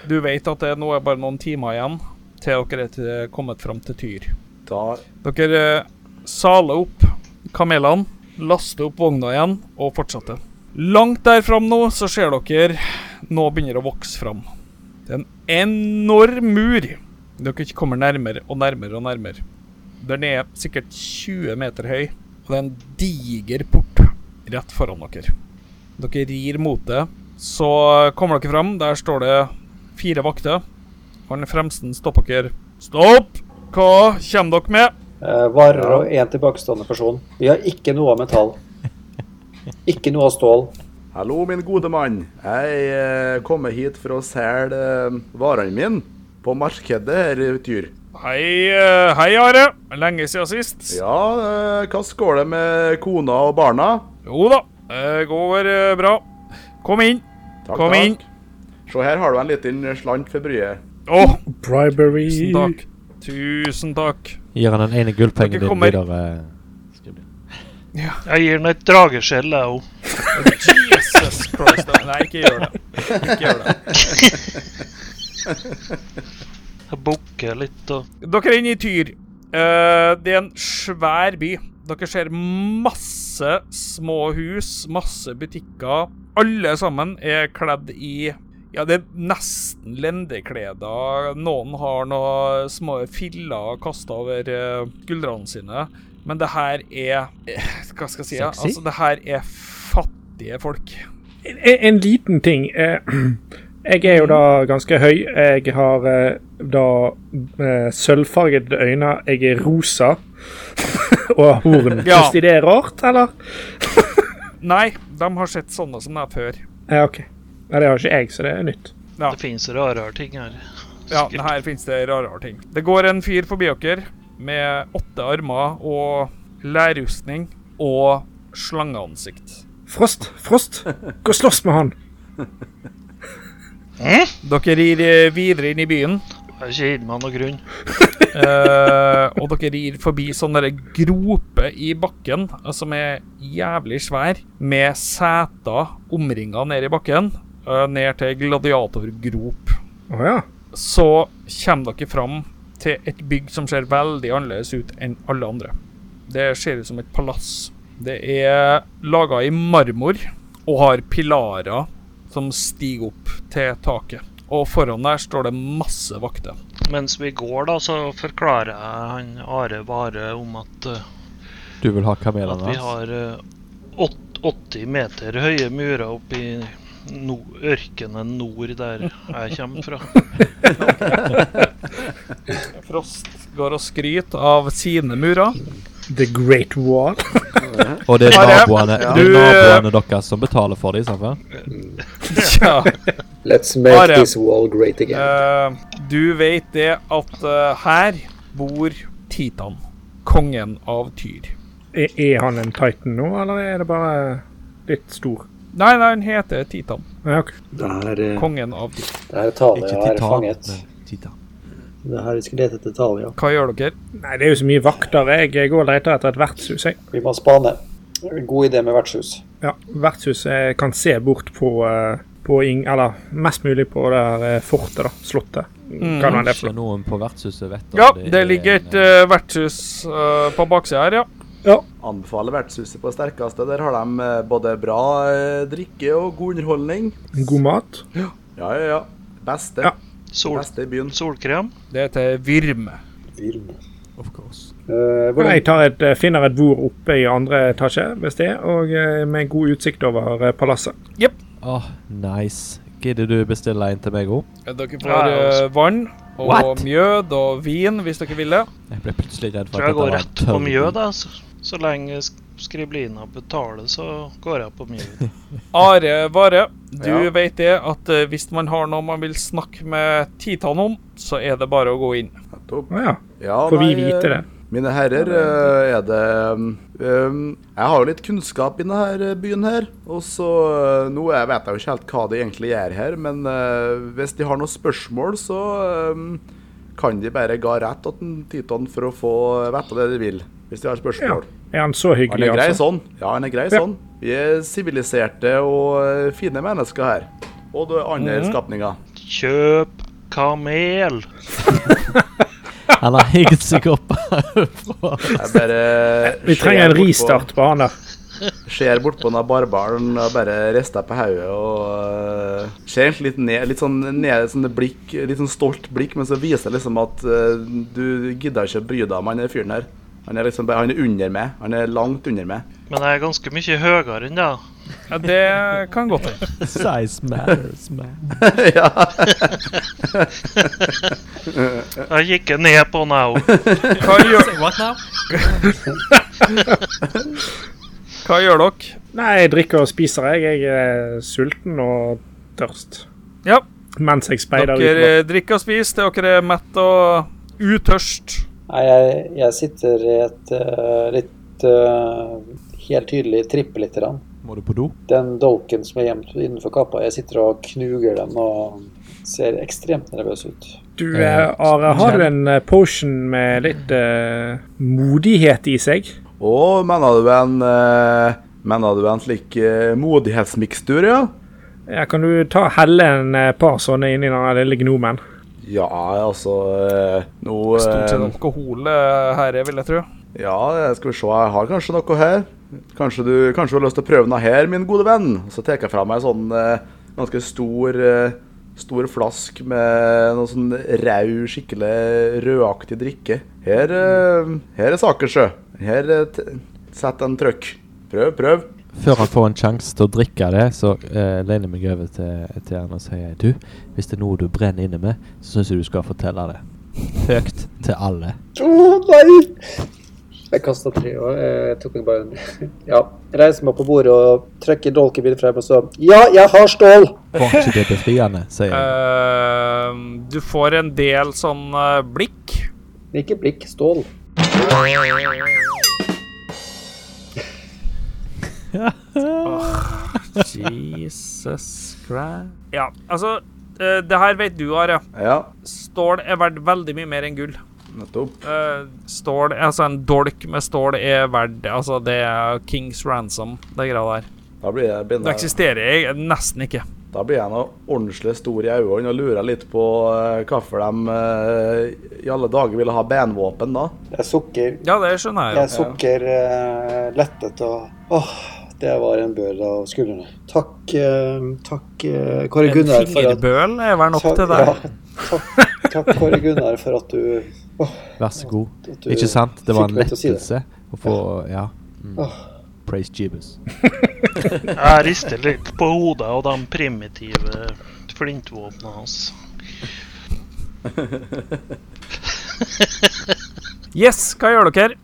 Du vet at det nå er bare noen timer igjen til dere er til- kommet fram til Tyr.
Da
Dere eh, saler opp kamelene, laster opp vogna igjen og fortsetter. Langt der fram nå så ser dere nå begynner det å vokse fram. Det er en enorm mur. Dere kommer nærmere og nærmere og nærmere. Den er sikkert 20 meter høy, og det er en diger port rett foran dere. Dere rir mot det. Så kommer dere fram. Der står det fire vakter. Han fremsten stopper dere. Stopp! Hva kommer dere med?
Eh, varer og én tilbakestående person. Vi har ikke noe av metall. Ikke noe av stål.
Hallo, min gode mann. Jeg eh, kommer hit for å selge eh, varene mine på markedet her i Tyr.
Hei, eh, hei, Are. Lenge siden sist.
Ja, eh, hva skåler med kona og barna?
Jo da, det går eh, bra. Kom inn.
Takk,
Kom inn.
Se her har du en liten slant for bryet.
Å,
Bribery
tusen takk. Tusen takk.
Gir han den ene gullpengen
Dere
din
kommer-
videre. eh,
Jeg gir den et drageskjell, jeg òg.
Jesus Christ. Nei, ikke gjør det. Ikke gjør det.
Jeg bukker litt og
Dere er inne i Tyr. Eh, det er en svær by. Dere ser masse små hus, masse butikker. Alle sammen er kledd i Ja, det er nesten lendekleder. Noen har noen små filler kasta over eh, skuldrene sine. Men det her er eh, Hva skal jeg si? ja?
Sexy?
Altså, det her er fattige folk.
En, en liten ting. eh, Jeg er jo da ganske høy. Jeg har eh, da eh, sølvfargede øyne. Jeg er rosa. Og horn.
Ja.
Syns de det er rart, eller?
Nei, de har sett sånne som deg før.
Ja, OK. Nei, det har ikke jeg, så det er nytt.
Ja.
Det fins rarere ting her.
Ja,
Sikkert.
her finnes det rarere ting. Det går en fyr forbi dere med åtte armer og lærrustning og slangeansikt.
Frost, Frost, gå og slåss med han!
Dere rir eh, videre inn i byen.
Jeg har ikke gitt meg noen grunn.
Eh, og dere rir forbi sånn derre grope i bakken eh, som er jævlig svær, med seter omringa ned i bakken, eh, ned til gladiatorgrop.
Å ja.
Så kommer dere fram til et bygg som ser veldig annerledes ut enn alle andre. Det ser ut som et palass. Det er laga i marmor og har pilarer som stiger opp til taket. Og foran der står det masse vakter.
Mens vi går, da, så forklarer jeg han Are Vare om at, eh,
Du vil ha kamelene
at vi
hans?
har eh, åt- 80 meter høye murer oppi no ørkenen nord der jeg kommer fra.
Frost går og skryter av sine murer.
The Great Wall.
Og det er
Are,
naboene, det
du-
er naboene deres som betaler for dem? sant vel?
Ja,
Let's make
Are.
this wall great again.
eh, du vet det at eh, her bor Titan, kongen av Tyr.
Er, er han en Titan nå, eller er det bare litt stor?
Nei, nei, han heter Titan,
Ja, ok.
Det her, eh,
kongen av Tyr.
det her er Talia
Ikke
jeg har
titan,
fanget.
men titan.
Det her vi skal lete etter Talia.
Hva gjør dere?
Nei, det er jo så mye vakter. Jeg, jeg går og leter etter et vertshus, jeg.
Vi må spane. God idé med vertshus.
Ja, vertshuset kan se bort på, eh, på ing, Eller mest mulig på det her eh, fortet, da. Slottet. Hva er det
Kanskje
for noe?
noen på vertshuset vet om
Ja,
er
det ligger et
en,
eh, vertshus eh, på baksida her, ja.
Anbefaler vertshuset på sterkeste. Der har de eh, både bra eh, drikke og god underholdning.
God mat?
Ja, ja, ja. Beste.
Ja.
Sol
Beste i byen.
solkrem.
Det heter Virme.
Vilm.
of course.
Eh, hvordan,
Jeg tar et, eh, finner et bord oppe i andre etasje, hvis det, er, og eh, med god utsikt over eh, palasset.
Åh, nice. Gidder du bestille en til meg òg?
Dere
Ja,
får
ja, altså.
eh, vann og
What?
mjød og vin hvis dere vil det.
Jeg ble plutselig redd for
Tror jeg går
var en
rett på
tørr
mjø,
bit.
da. Så, så lenge sk- skriblina betaler, så går jeg på mjø.
Are Vare, du
Ja.
vet det at eh, hvis man har noe man vil snakke med Titan om, så er det bare å gå inn.
Nettopp.
Å ja,
Ja,
får vi
nei, eh,
vite det?
Mine herrer, eh, er det ehm, Jeg har jo litt kunnskap i denne byen her. Og så eh, Nå jeg vet jeg jo ikke helt hva de egentlig gjør her, men eh, hvis de har noen spørsmål, så ehm, kan de bare ga rett til en Titan for å få vite det de vil. Hvis de har spørsmål.
Er han så
Han
hyggelig,
er grei
altså?
sånn. Ja, han er grei
Ja.
sånn. Vi er siviliserte og eh, fine mennesker her. Og det andre
Mhm.
skapninger.
Kjøp kamel.
Han har hengt seg opp herfra.
Jeg bare
Vi trenger
ser
en
bort på-
ristart på han der.
Ser bort på den barbaren og bare rister på hodet og øh, ser egentlig litt ned, litt sånn ned, sånne blikk, litt sånn stolt blikk, men så viser det liksom at øh, du gidder ikke å bry deg om han der fyren her. Han er liksom bare, han er under meg. Han er langt under meg.
Men jeg er ganske mye høyere enn deg.
Ja, det kan godt hende.
Size matters, man.
ja.
Jeg gikk ned på den, jeg òg.
Hva gjør, hva gjør dere?
Nei, jeg drikker og spiser, jeg. Jeg er sulten og tørst.
Ja.
Mens jeg speider
Dere
utover.
eh, drikker og spiser til dere er mett og utørst.
Nei, jeg, jeg sitter i et eh, litt eh, Helt tydelig trippe litt. Grann.
Må du på do?
Den dolken som er gjemt innenfor kappa, jeg sitter og knuger den og ser ekstremt nervøs ut.
Du, eh, Are, har du en eh, potion med litt eh, modighet i seg?
Å, mener du en øh, Mener du en slik øh, modighetsmikstur, ja?
Ja, Kan du ta helle en eh, par sånne inni den lille gnomen?
Ja, altså øh, Nå
Stort sett
øh,
alkohol eh, her, jeg vil jeg tro.
Ja, jeg skal vi se, jeg har kanskje noe her. Kanskje du, kanskje du har lyst til å prøve noe her, min gode venn? Så tar jeg fra meg en sånn eh, ganske stor eh, Stor flask med noe sånn rau, skikkelig rødaktig drikke. Her, eh, her er saker, sjø. Her eh, t- Sett en trøkk. Prøv, prøv.
Før han får en sjanse til å drikke av det, så eh, lener jeg meg over til, til han og sier Du, hvis det er noe du brenner inne med, så syns jeg du skal fortelle det. Høyt til alle.
Å, nei! Jeg kasta tre og eh, tok meg bare en Ja. Reiser meg på bordet og trekker dolkebilen frem og så Ja, jeg har stål!
Var ikke det befriende, sier jeg.
Eh, du får en del sånn eh, blikk.
Ikke blikk, stål.
Jesus Christ.
Ja, altså eh, Det her vet du, Are.
Ja,
Stål er verdt veldig mye mer enn gull.
nettopp.
Eh, stål Altså, en dolk med stål er verdt Altså, det er Kings Ransom, det greia der.
Da blir jeg,
Det
begynner,
eksisterer jeg nesten ikke.
da blir jeg nå ordentlig stor i øynene og lurer litt på eh, hvorfor de eh, i alle dager ville ha benvåpen da.
Jeg sukker.
Ja, det skjønner jeg.
Jeg sukker eh, lettet og Åh, det var en bør av skuldrene. Takk, eh, takk eh,
jo.
Kåre
En
Gunnar for at
fingerbøl er vel nok
Takk-
til det.
Ja, takk, takk Kåre Gunnar for at du,
Vær så god.
at du
Ikke sant? Det var en
fikk meg til å si det.
lettelse å få Ja. Mm.
Åh.
Praise Jeebus.
Jeg rister litt på hodet av de primitive flintvåpnene hans.
Yes, hva gjør dere?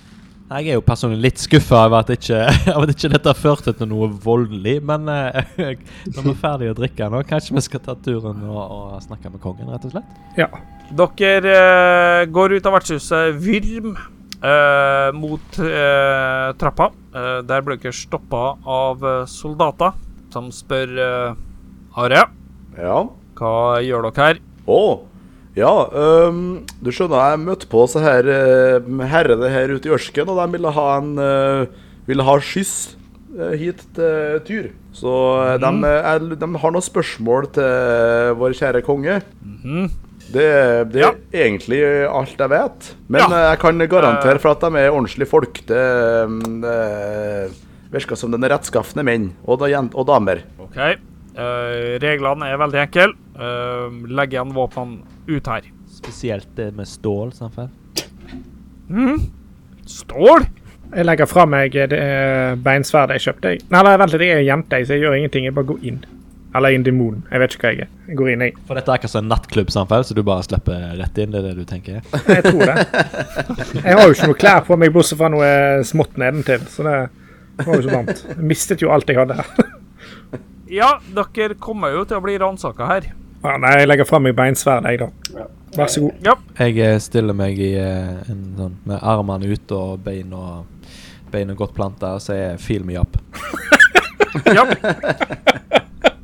Jeg er jo personlig litt skuffa over at ikke, av at ikke dette førte til noe voldelig, men eh, når vi er ferdige å drikke nå, kanskje vi skal ta turen og, og snakke med kongen, rett og slett?
Ja.
Dere eh, går ut av vertshuset Virm eh, mot eh, trappa. Eh, der blir dere stoppa av eh, soldater som spør eh, Are,
Ja.
hva gjør dere her?
Å, ja, øhm, du skjønner, jeg møtte på så her øhm, herrene her ute i Ørsken, og de ville ha en øh, ville ha skyss øh, hit til Tyr. Så øh,
Mhm.
de, øh, er, de har noen spørsmål til øh, vår kjære konge. Det, det
Mhm. Ja.
er egentlig alt jeg vet. Men
Ja. Eh.
øh, jeg kan garantere for at de er ordentlige folk. Det øhm, øh, virker som de er rettskafne menn og, da, jen- og damer.
OK. Eh, reglene er veldig enkle. Eh, legg igjen våpnene ut her.
Spesielt det med stål, samfunn.
Stål?
Jeg legger fra meg det eh, beinsverdet jeg kjøpte. jeg. Nei, nei, vent litt, jeg er jente, jeg, så jeg gjør ingenting. Jeg bare går inn. Eller jeg er en demon. Jeg vet ikke hva jeg er. Jeg går inn, jeg.
For dette er akkurat som en nattklubb, samfunn, så du bare slipper rett inn, det er det du tenker?
Jeg tror det. Jeg har jo ikke noe klær på meg, bortsett fra noe eh, smått nedentil. Så det var jo så varmt. Jeg mistet jo alt jeg hadde her.
Ja, dere kommer jo til å bli ransaka her.
Ja, nei, jeg legger fra meg beinsverdet, jeg, da. Vær så god.
Jeg eh, stiller meg i eh, en sånn med armene ute og beina beina godt planta og sier 'feel me up'.
Ja.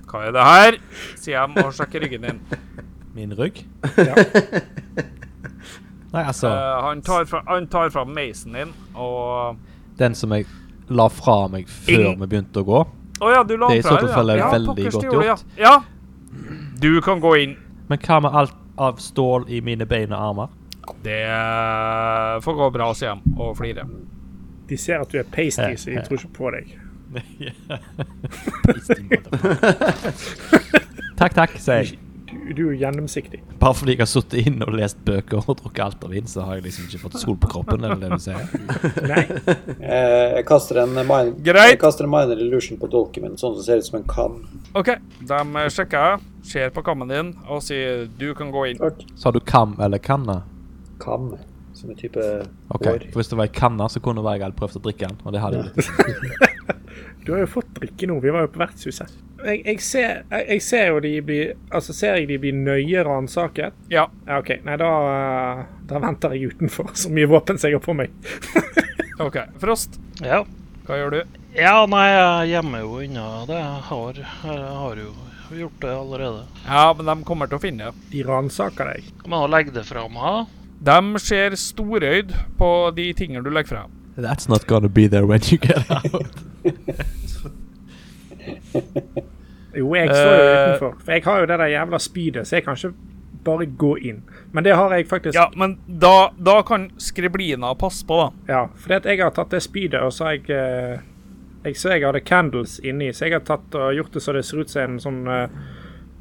Hva er det her? sier jeg og sjekker ryggen din.
Min rygg?
Ja.
Nei, altså
Eh, han, tar fra, han tar fram meisen din og
Den som jeg la fra meg før
Ingen-
vi begynte å gå.
Å ja, du la
Det er i
den fra
så
deg,
tilfelle
ja.
veldig
pokker,
godt
gjorde det, Ja. ja. Du kan gå inn.
Men hva med alt av stål i mine bein og armer?
Det eh, får gå bra, sier han og flirer.
De ser at du er pasty, så de tror ikke på deg.
takk, takk, sier jeg.
Du, du er jo gjennomsiktig.
Bare fordi jeg har sittet inne og lest bøker og drukket altervin, så har jeg liksom ikke fått sol på kroppen. eller det du sier.
Nei.
Eh, Jeg kaster en minor,
Greit.
Jeg kaster en minor illusion på dolken min, sånn som ser ut som en kam.
OK, de sjekker, ser på kammen din og sier du kan gå inn.
Så har du kam eller kanna.
Kam, som en type
Ok,
hår.
for Hvis det var ei kanne, så kunne det være jeg hadde prøvd å drikke den. og det hadde jeg blitt.
Du har jo fått drikke nå. Vi var jo på vertshuset. Jeg, jeg, ser, jeg, jeg ser jo de blir Altså, ser jeg de blir nøye ransaket?
Ja.
Ja, OK. Nei, da, eh, da venter jeg utenfor. Så mye våpen som jeg har på meg.
OK. Frost,
Ja.
hva gjør du?
ja, nei, jeg gjemmer jo unna det jeg har. Jeg har jo gjort det allerede.
Ja, men de kommer til å finne det.
De ransaker deg.
Kan man legge det fra meg?
De ser storøyd på de tingene du legger fra.
That's not gonna be there when you get out.
Jo, jeg står jo
Eh.
utenfor. For jeg har jo det der jævla spydet, så jeg kan ikke bare gå inn. Men det har jeg faktisk.
Ja, men da, da kan skriblina passe på, da.
Ja, fordi at jeg har tatt det spydet, og så har jeg eh, Jeg så jeg hadde candles inni, så jeg har tatt og gjort det så det ser ut som en sånn eh,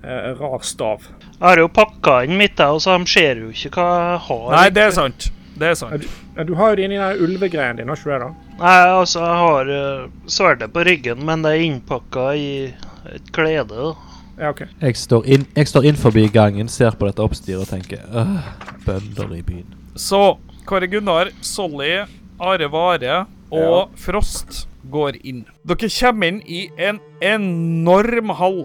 eh, rar stav.
Jeg har jo pakka inn mitt, jeg, og så de ser jo ikke hva jeg har.
Nei, det er sant. Det er sant.
Ja, du har jo det inni den ulvegreien din, har ikke du det? da?
Nei, altså, jeg har eh, sverdet på ryggen, men det er innpakka i et klede. da.
Ja, ok.
Jeg står, inn, jeg står inn forbi gangen, ser på dette oppstyret og tenker «Åh, Bønder i byen.
Så Kåre Gunnar, Solly, Are Vare og Frost går inn. Dere kommer inn i en enorm hall.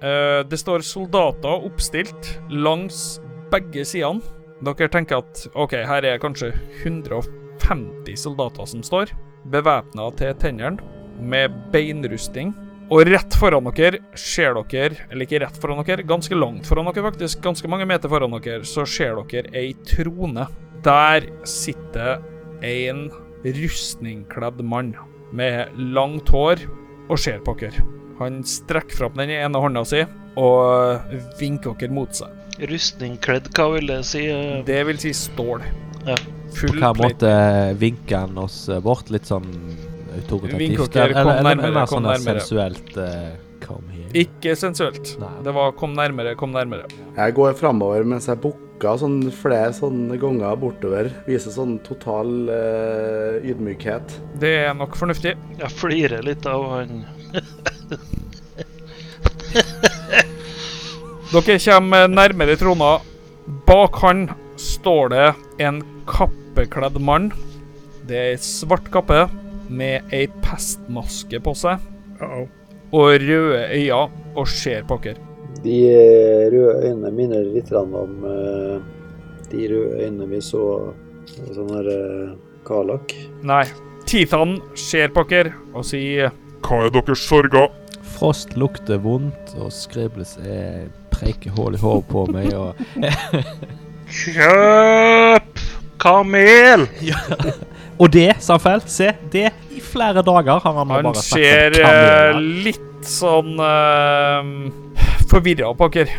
Eh, det står soldater oppstilt langs begge sidene. Dere tenker at OK, her er kanskje 150 soldater som står, bevæpna til tennene, med beinrustning. Og rett foran dere ser dere Eller ikke rett foran dere, ganske langt foran dere, faktisk. Ganske mange meter foran dere, så ser dere ei trone. Der sitter en rustningkledd mann med langt hår og ser på dere. Han strekker fram den ene hånda si og vinker dere mot seg.
Rustningkledd, hva vil det si? eh,
Det vil si stål.
Ja.
På
Full
hva
plate.
måte vinker han oss eh, bort? Litt sånn
Vinker
autoritativt?
dere, kom nærmere,
mer
kom
sånn der
nærmere.
sensuelt eh, Kom her.
Ikke sensuelt.
Nei.
Det var 'kom nærmere, kom nærmere'.
Jeg går framover mens jeg bukker sånn flere sånne ganger bortover. Viser sånn total eh, ydmykhet.
Det er nok fornuftig.
Jeg flirer litt av han.
Dere kommer nærmere trona. Bak han står det en kappekledd mann. Det er ei svart kappe med ei pestmaske på seg
Uh -oh.
og røde øyne og ser på dere.
De eh, røde øynene minner litt grann om eh, de røde øynene vi så i sånn her eh, Kalak.
Nei. Titan ser på dere og sier
Hva er deres sorger?
Frost lukter vondt, og Skribles er preiker hull i håret på meg, og
Kjøp kamel!
Og det, Samfell, se, det i flere dager har han,
Han
bare
ser
snakket om
eh,
kameler.
litt sånn eh, forvirra på dere.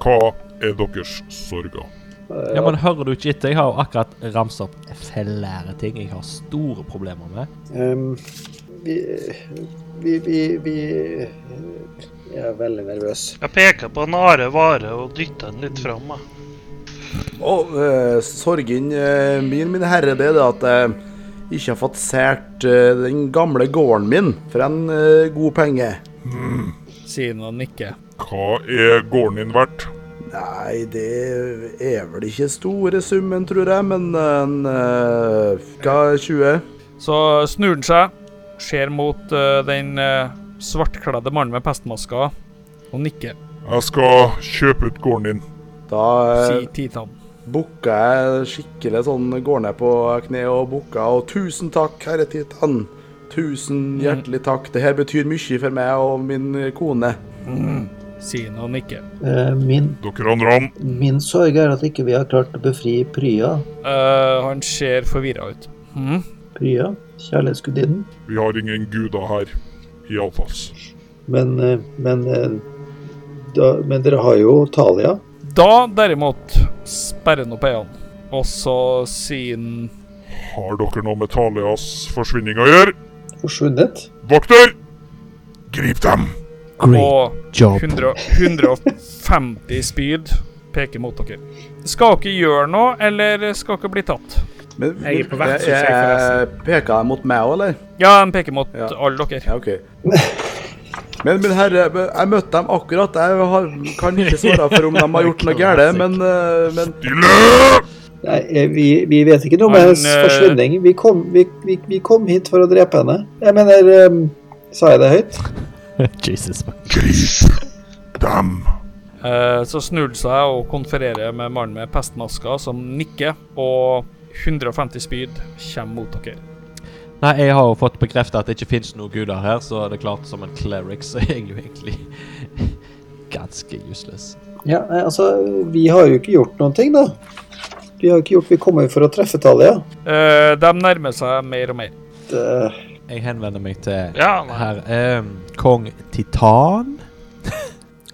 Hva er deres sorger?
Eh,
Ja, men hører du ikke etter? Jeg har jo akkurat ramset opp flere ting jeg har store problemer med.
ehm, vi, vi, vi, vi eh, Jeg er veldig nervøs.
Jeg peker på en are vare og dytter den litt fram. jeg.
Og eh, sorgen eh, min, min herre, det er det at jeg ikke har fått sært eh, den gamle gården min for en eh, god penge.
Siden han nikker.
Hva er gården din verdt?
Nei, det er vel ikke store summen, tror jeg, men en eh, Hva, 20?
Så snur han seg, ser mot eh, den eh, svartkledde mannen med pestmaska og nikker.
Jeg skal kjøpe ut gården din.
Da
sier
eh,
Titan.
booka jeg skikkelig sånn, går ned på kne og booka, og tusen takk, herre Titan. Tusen hjertelig takk. Det her betyr mye for meg og min kone.
Sier han og nikker.
Eh, min,
Dere andre han.
min sorg er at ikke vi har klart å befri Prya.
Eh, han ser forvirra ut. Mhm.
Prya, kjærlighetsgudinnen.
Vi har ingen guder her i Alfas.
Men, eh, men, eh, da, men dere har jo Talia.
Da derimot sperrer han opp øynene, og så sier han
Har dere noe med Talias forsvinning å gjøre?
Forsvunnet.
Vokter! Grip dem!
Og
job.
100, 150 spyd peker mot dere. Skal dere gjøre noe, eller skal dere bli tatt?
Men,
Jeg er på vertshuset,
jeg-
jeg,
jeg- Peker jeg mot meg òg, eller?
Ja, de peker mot
Ja.
alle dere.
Ja, OK. Men min herre, jeg møtte dem akkurat. Jeg har, kan ikke svare for om de har gjort noe galt, men, eh, men
Stille!
Nei, eh, vi, vi vet ikke noe om
Han,
hennes
eh,
forsvinning. Vi kom, vi, vi, vi kom hit for å drepe henne. Jeg mener ehm, Sa jeg det høyt?
Jesus.
Dem!
Eh, så snur han seg og konfererer med mannen med pestmaska, som nikker, og 150 spyd kommer mot dere.
Nei, jeg har jo fått bekreftet at det ikke finnes noen guder her, så det er klart som en cleric så er jeg jo egentlig ganske useless.
Ja, nei, altså, vi har jo ikke gjort noen ting, da. Vi har jo ikke gjort Vi kommer jo for å treffe Talia.
Eh, de nærmer seg mer og mer.
Det-
Jeg henvender meg til
Ja, nei.
herr ehm, kong Titan.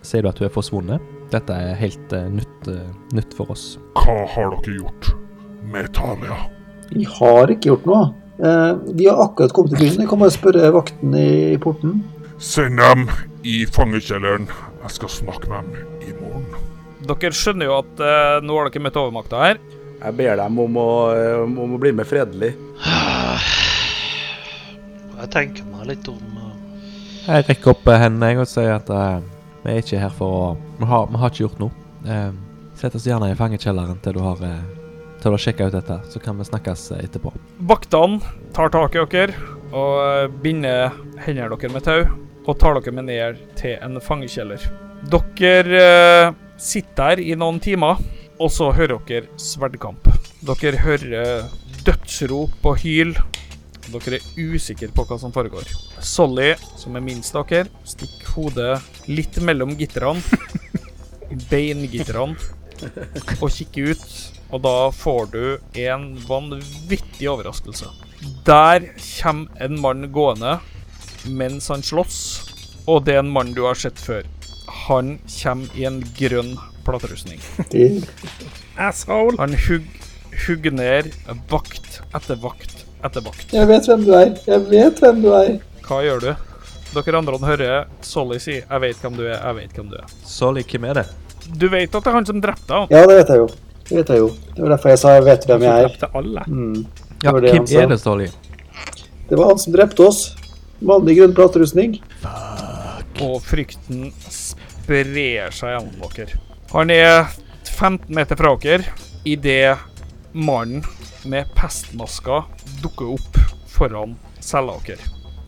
Sier du at du er forsvunnet? Dette er helt eh, nytt, eh, nytt for oss.
Hva har dere gjort med Talia?
vi har ikke gjort noe. Eh, vi har akkurat kommet til byen. Jeg kan bare spørre vakten i, i porten.
Send dem i fangekjelleren. Jeg skal snakke med dem i morgen.
Dere skjønner jo at eh, nå har dere møtt overmakta her.
Jeg ber dem om å, eh, om å bli med fredelig.
Jeg tenker meg litt om. eh,
Jeg rekker opp eh, hendene jeg, og sier at eh, vi er ikke her for å Vi har, vi har ikke gjort noe. Eh, Sett oss gjerne i fangekjelleren til du har eh, Til du har sjekka ut dette, så kan vi snakkes eh, etterpå.
Vaktene tar tak i dere og eh, binder hendene dere med tau og tar dere med ned til en fangekjeller. Dere eh, sitter der i noen timer, og så hører dere sverdkamp. Dere hører eh, dødsrop og hyl. Dere er usikre på hva som foregår. Solly, som er minst av dere, stikker hodet litt mellom gitterne, beingitterne, og kikker ut. Og da får du en vanvittig overraskelse. Der kommer en mann gående mens han slåss, og det er en mann du har sett før. Han kommer i en grønn platerustning.
Asshole!
Han hugg, hugger ned vakt etter vakt etter vakt.
Jeg vet hvem du er. Jeg vet hvem du er.
Hva gjør du? Dere andre hører Solly si 'Jeg vet hvem du er, jeg vet hvem du er'.
Solly, hvem er det?
Du vet at det er han som drepte deg?
Ja, det vet jeg jo. Det vet jeg jo. Det var derfor jeg sa jeg vet hvem jeg er.
Drepte alle.
Mm.
Ja,
var det
hvem
han sa.
er det, Solly?
Det var han som drepte oss. Mann i grønn platerustning.
og frykten sprer seg gjennom dere. Han er 15 meter fra dere idet mannen med pestmaska dukker opp foran cella deres.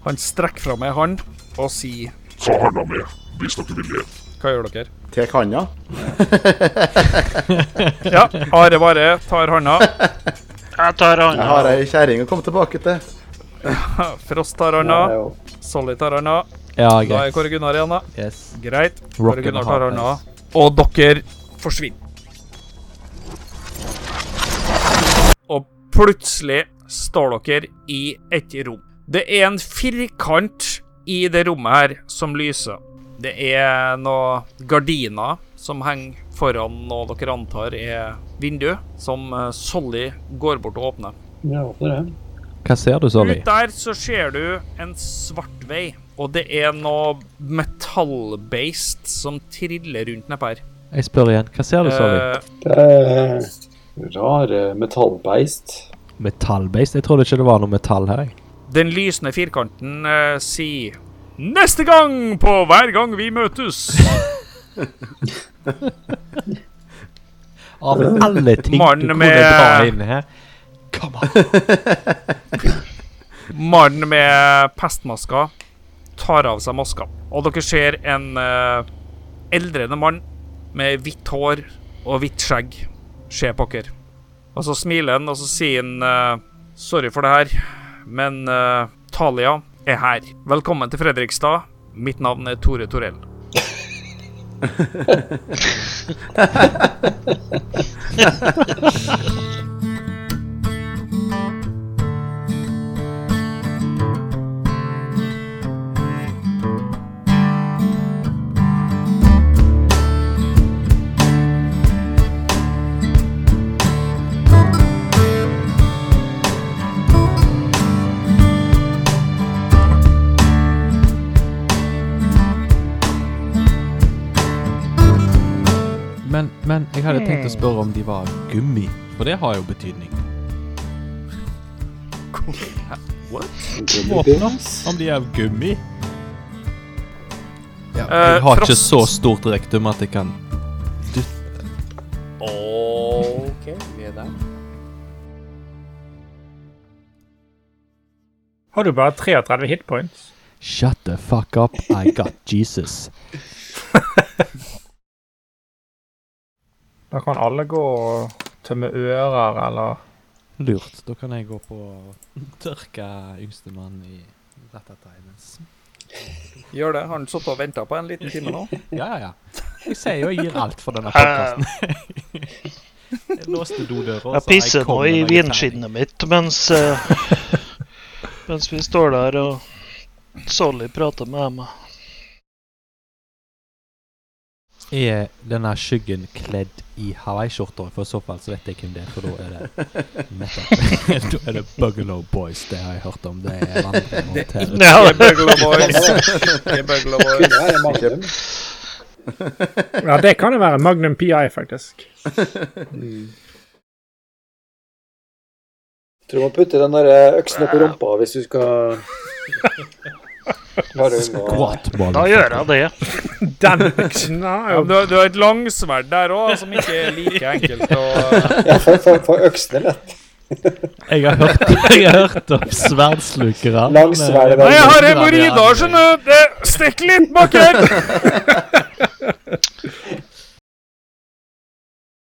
Han strekker fra meg hånd og sier
Ta handa med hvis dere vil leve.
Hva gjør dere?
Tek handa.
Ja, Are Vare tar handa.
Jeg tar
Jeg
han.
har ei kjerring å komme tilbake til.
Frost tar
Ja,
handa.
jo.
Solly tar handa.
Ja,
Da er
greit.
Kåre Gunnar igjen, da.
Yes.
Greit. Kåre
Rock and
Gunnar
a
tar
hard
handa. Og dere forsvinner. Og plutselig står dere i et rom. Det er en firkant i det rommet her som lyser. Det er noen gardiner som henger foran noe dere antar er vindu, som eh, Solly går bort og åpner.
Jeg åpner det.
Hva ser du, Solly?
Ut der så ser du en svart vei, og det er noe metallbeist som triller rundt nedpå her.
Jeg spør igjen. Hva ser du, Solly?
Eh,
Det er Rare metallbeist.
Metallbeist? Jeg trodde ikke det var noe metall her. jeg.
den lysende firkanten eh, sier Neste gang på Hver gang vi møtes.
Av alle ting du
Mannen
kunne
med-
dra inn her. Come on.
Mannen med pestmaska tar av seg maska, og dere ser en eh, eldrende mann med hvitt hår og hvitt skjegg se på dere. Og så smiler han, og så sier han eh, Sorry for det her, men eh, Thalia er her. Velkommen til Fredrikstad. Mitt navn er Tore Torell.
Men, men jeg hadde tenkt å spørre om de var gummi, for det har jo betydning. Om de er av gummi? Ja,
Eh,
jeg har ikke
Frost.
så stort rektum at jeg kan
OK, vi er der.
Har du bare 33 hitpoints?
Shut the fuck up, I got Jesus.
Da kan alle gå og tømme ører eller
Lurt. Da kan jeg gå på og tørke yngstemann i Ratata Islands.
Gjør det. Har han sittet og venta på en liten time nå?
Ja, ja, ja. Jeg sier jo jeg gir alt for denne podkasten. Jeg låste dodøra.
Jeg pisser nå i vinskinnet mitt mens, eh, mens vi står der og Solly prater med Emma.
Er denne skyggen kledd i hawaiiskjorter? For i så fall så vet jeg hvem det er, for da er det nettopp Da er det Bugalow Boys, det har jeg hørt om. Det er vandrerne til
Ja,
Det er Bugler Boys. Det er Bugler Boys.
Kunne være Magnum.
Ja, det kan jo være Magnum PI, faktisk.
Tror du må putte den der eh, øksen opp i rumpa hvis du skal Bare unngå
Da gjør jeg det.
Den øksen er
Ja,
jo
men du, har- du har et langsverd der òg, som ikke er like enkelt å
Ja, for, for, for øksen er lett.
Jeg har hørt, jeg har hørt om sverdslukere.
Langsverd er
eh,
Nei,
veldig
jeg eh, har hemoroider, skjønner du! Det stikker litt bak her!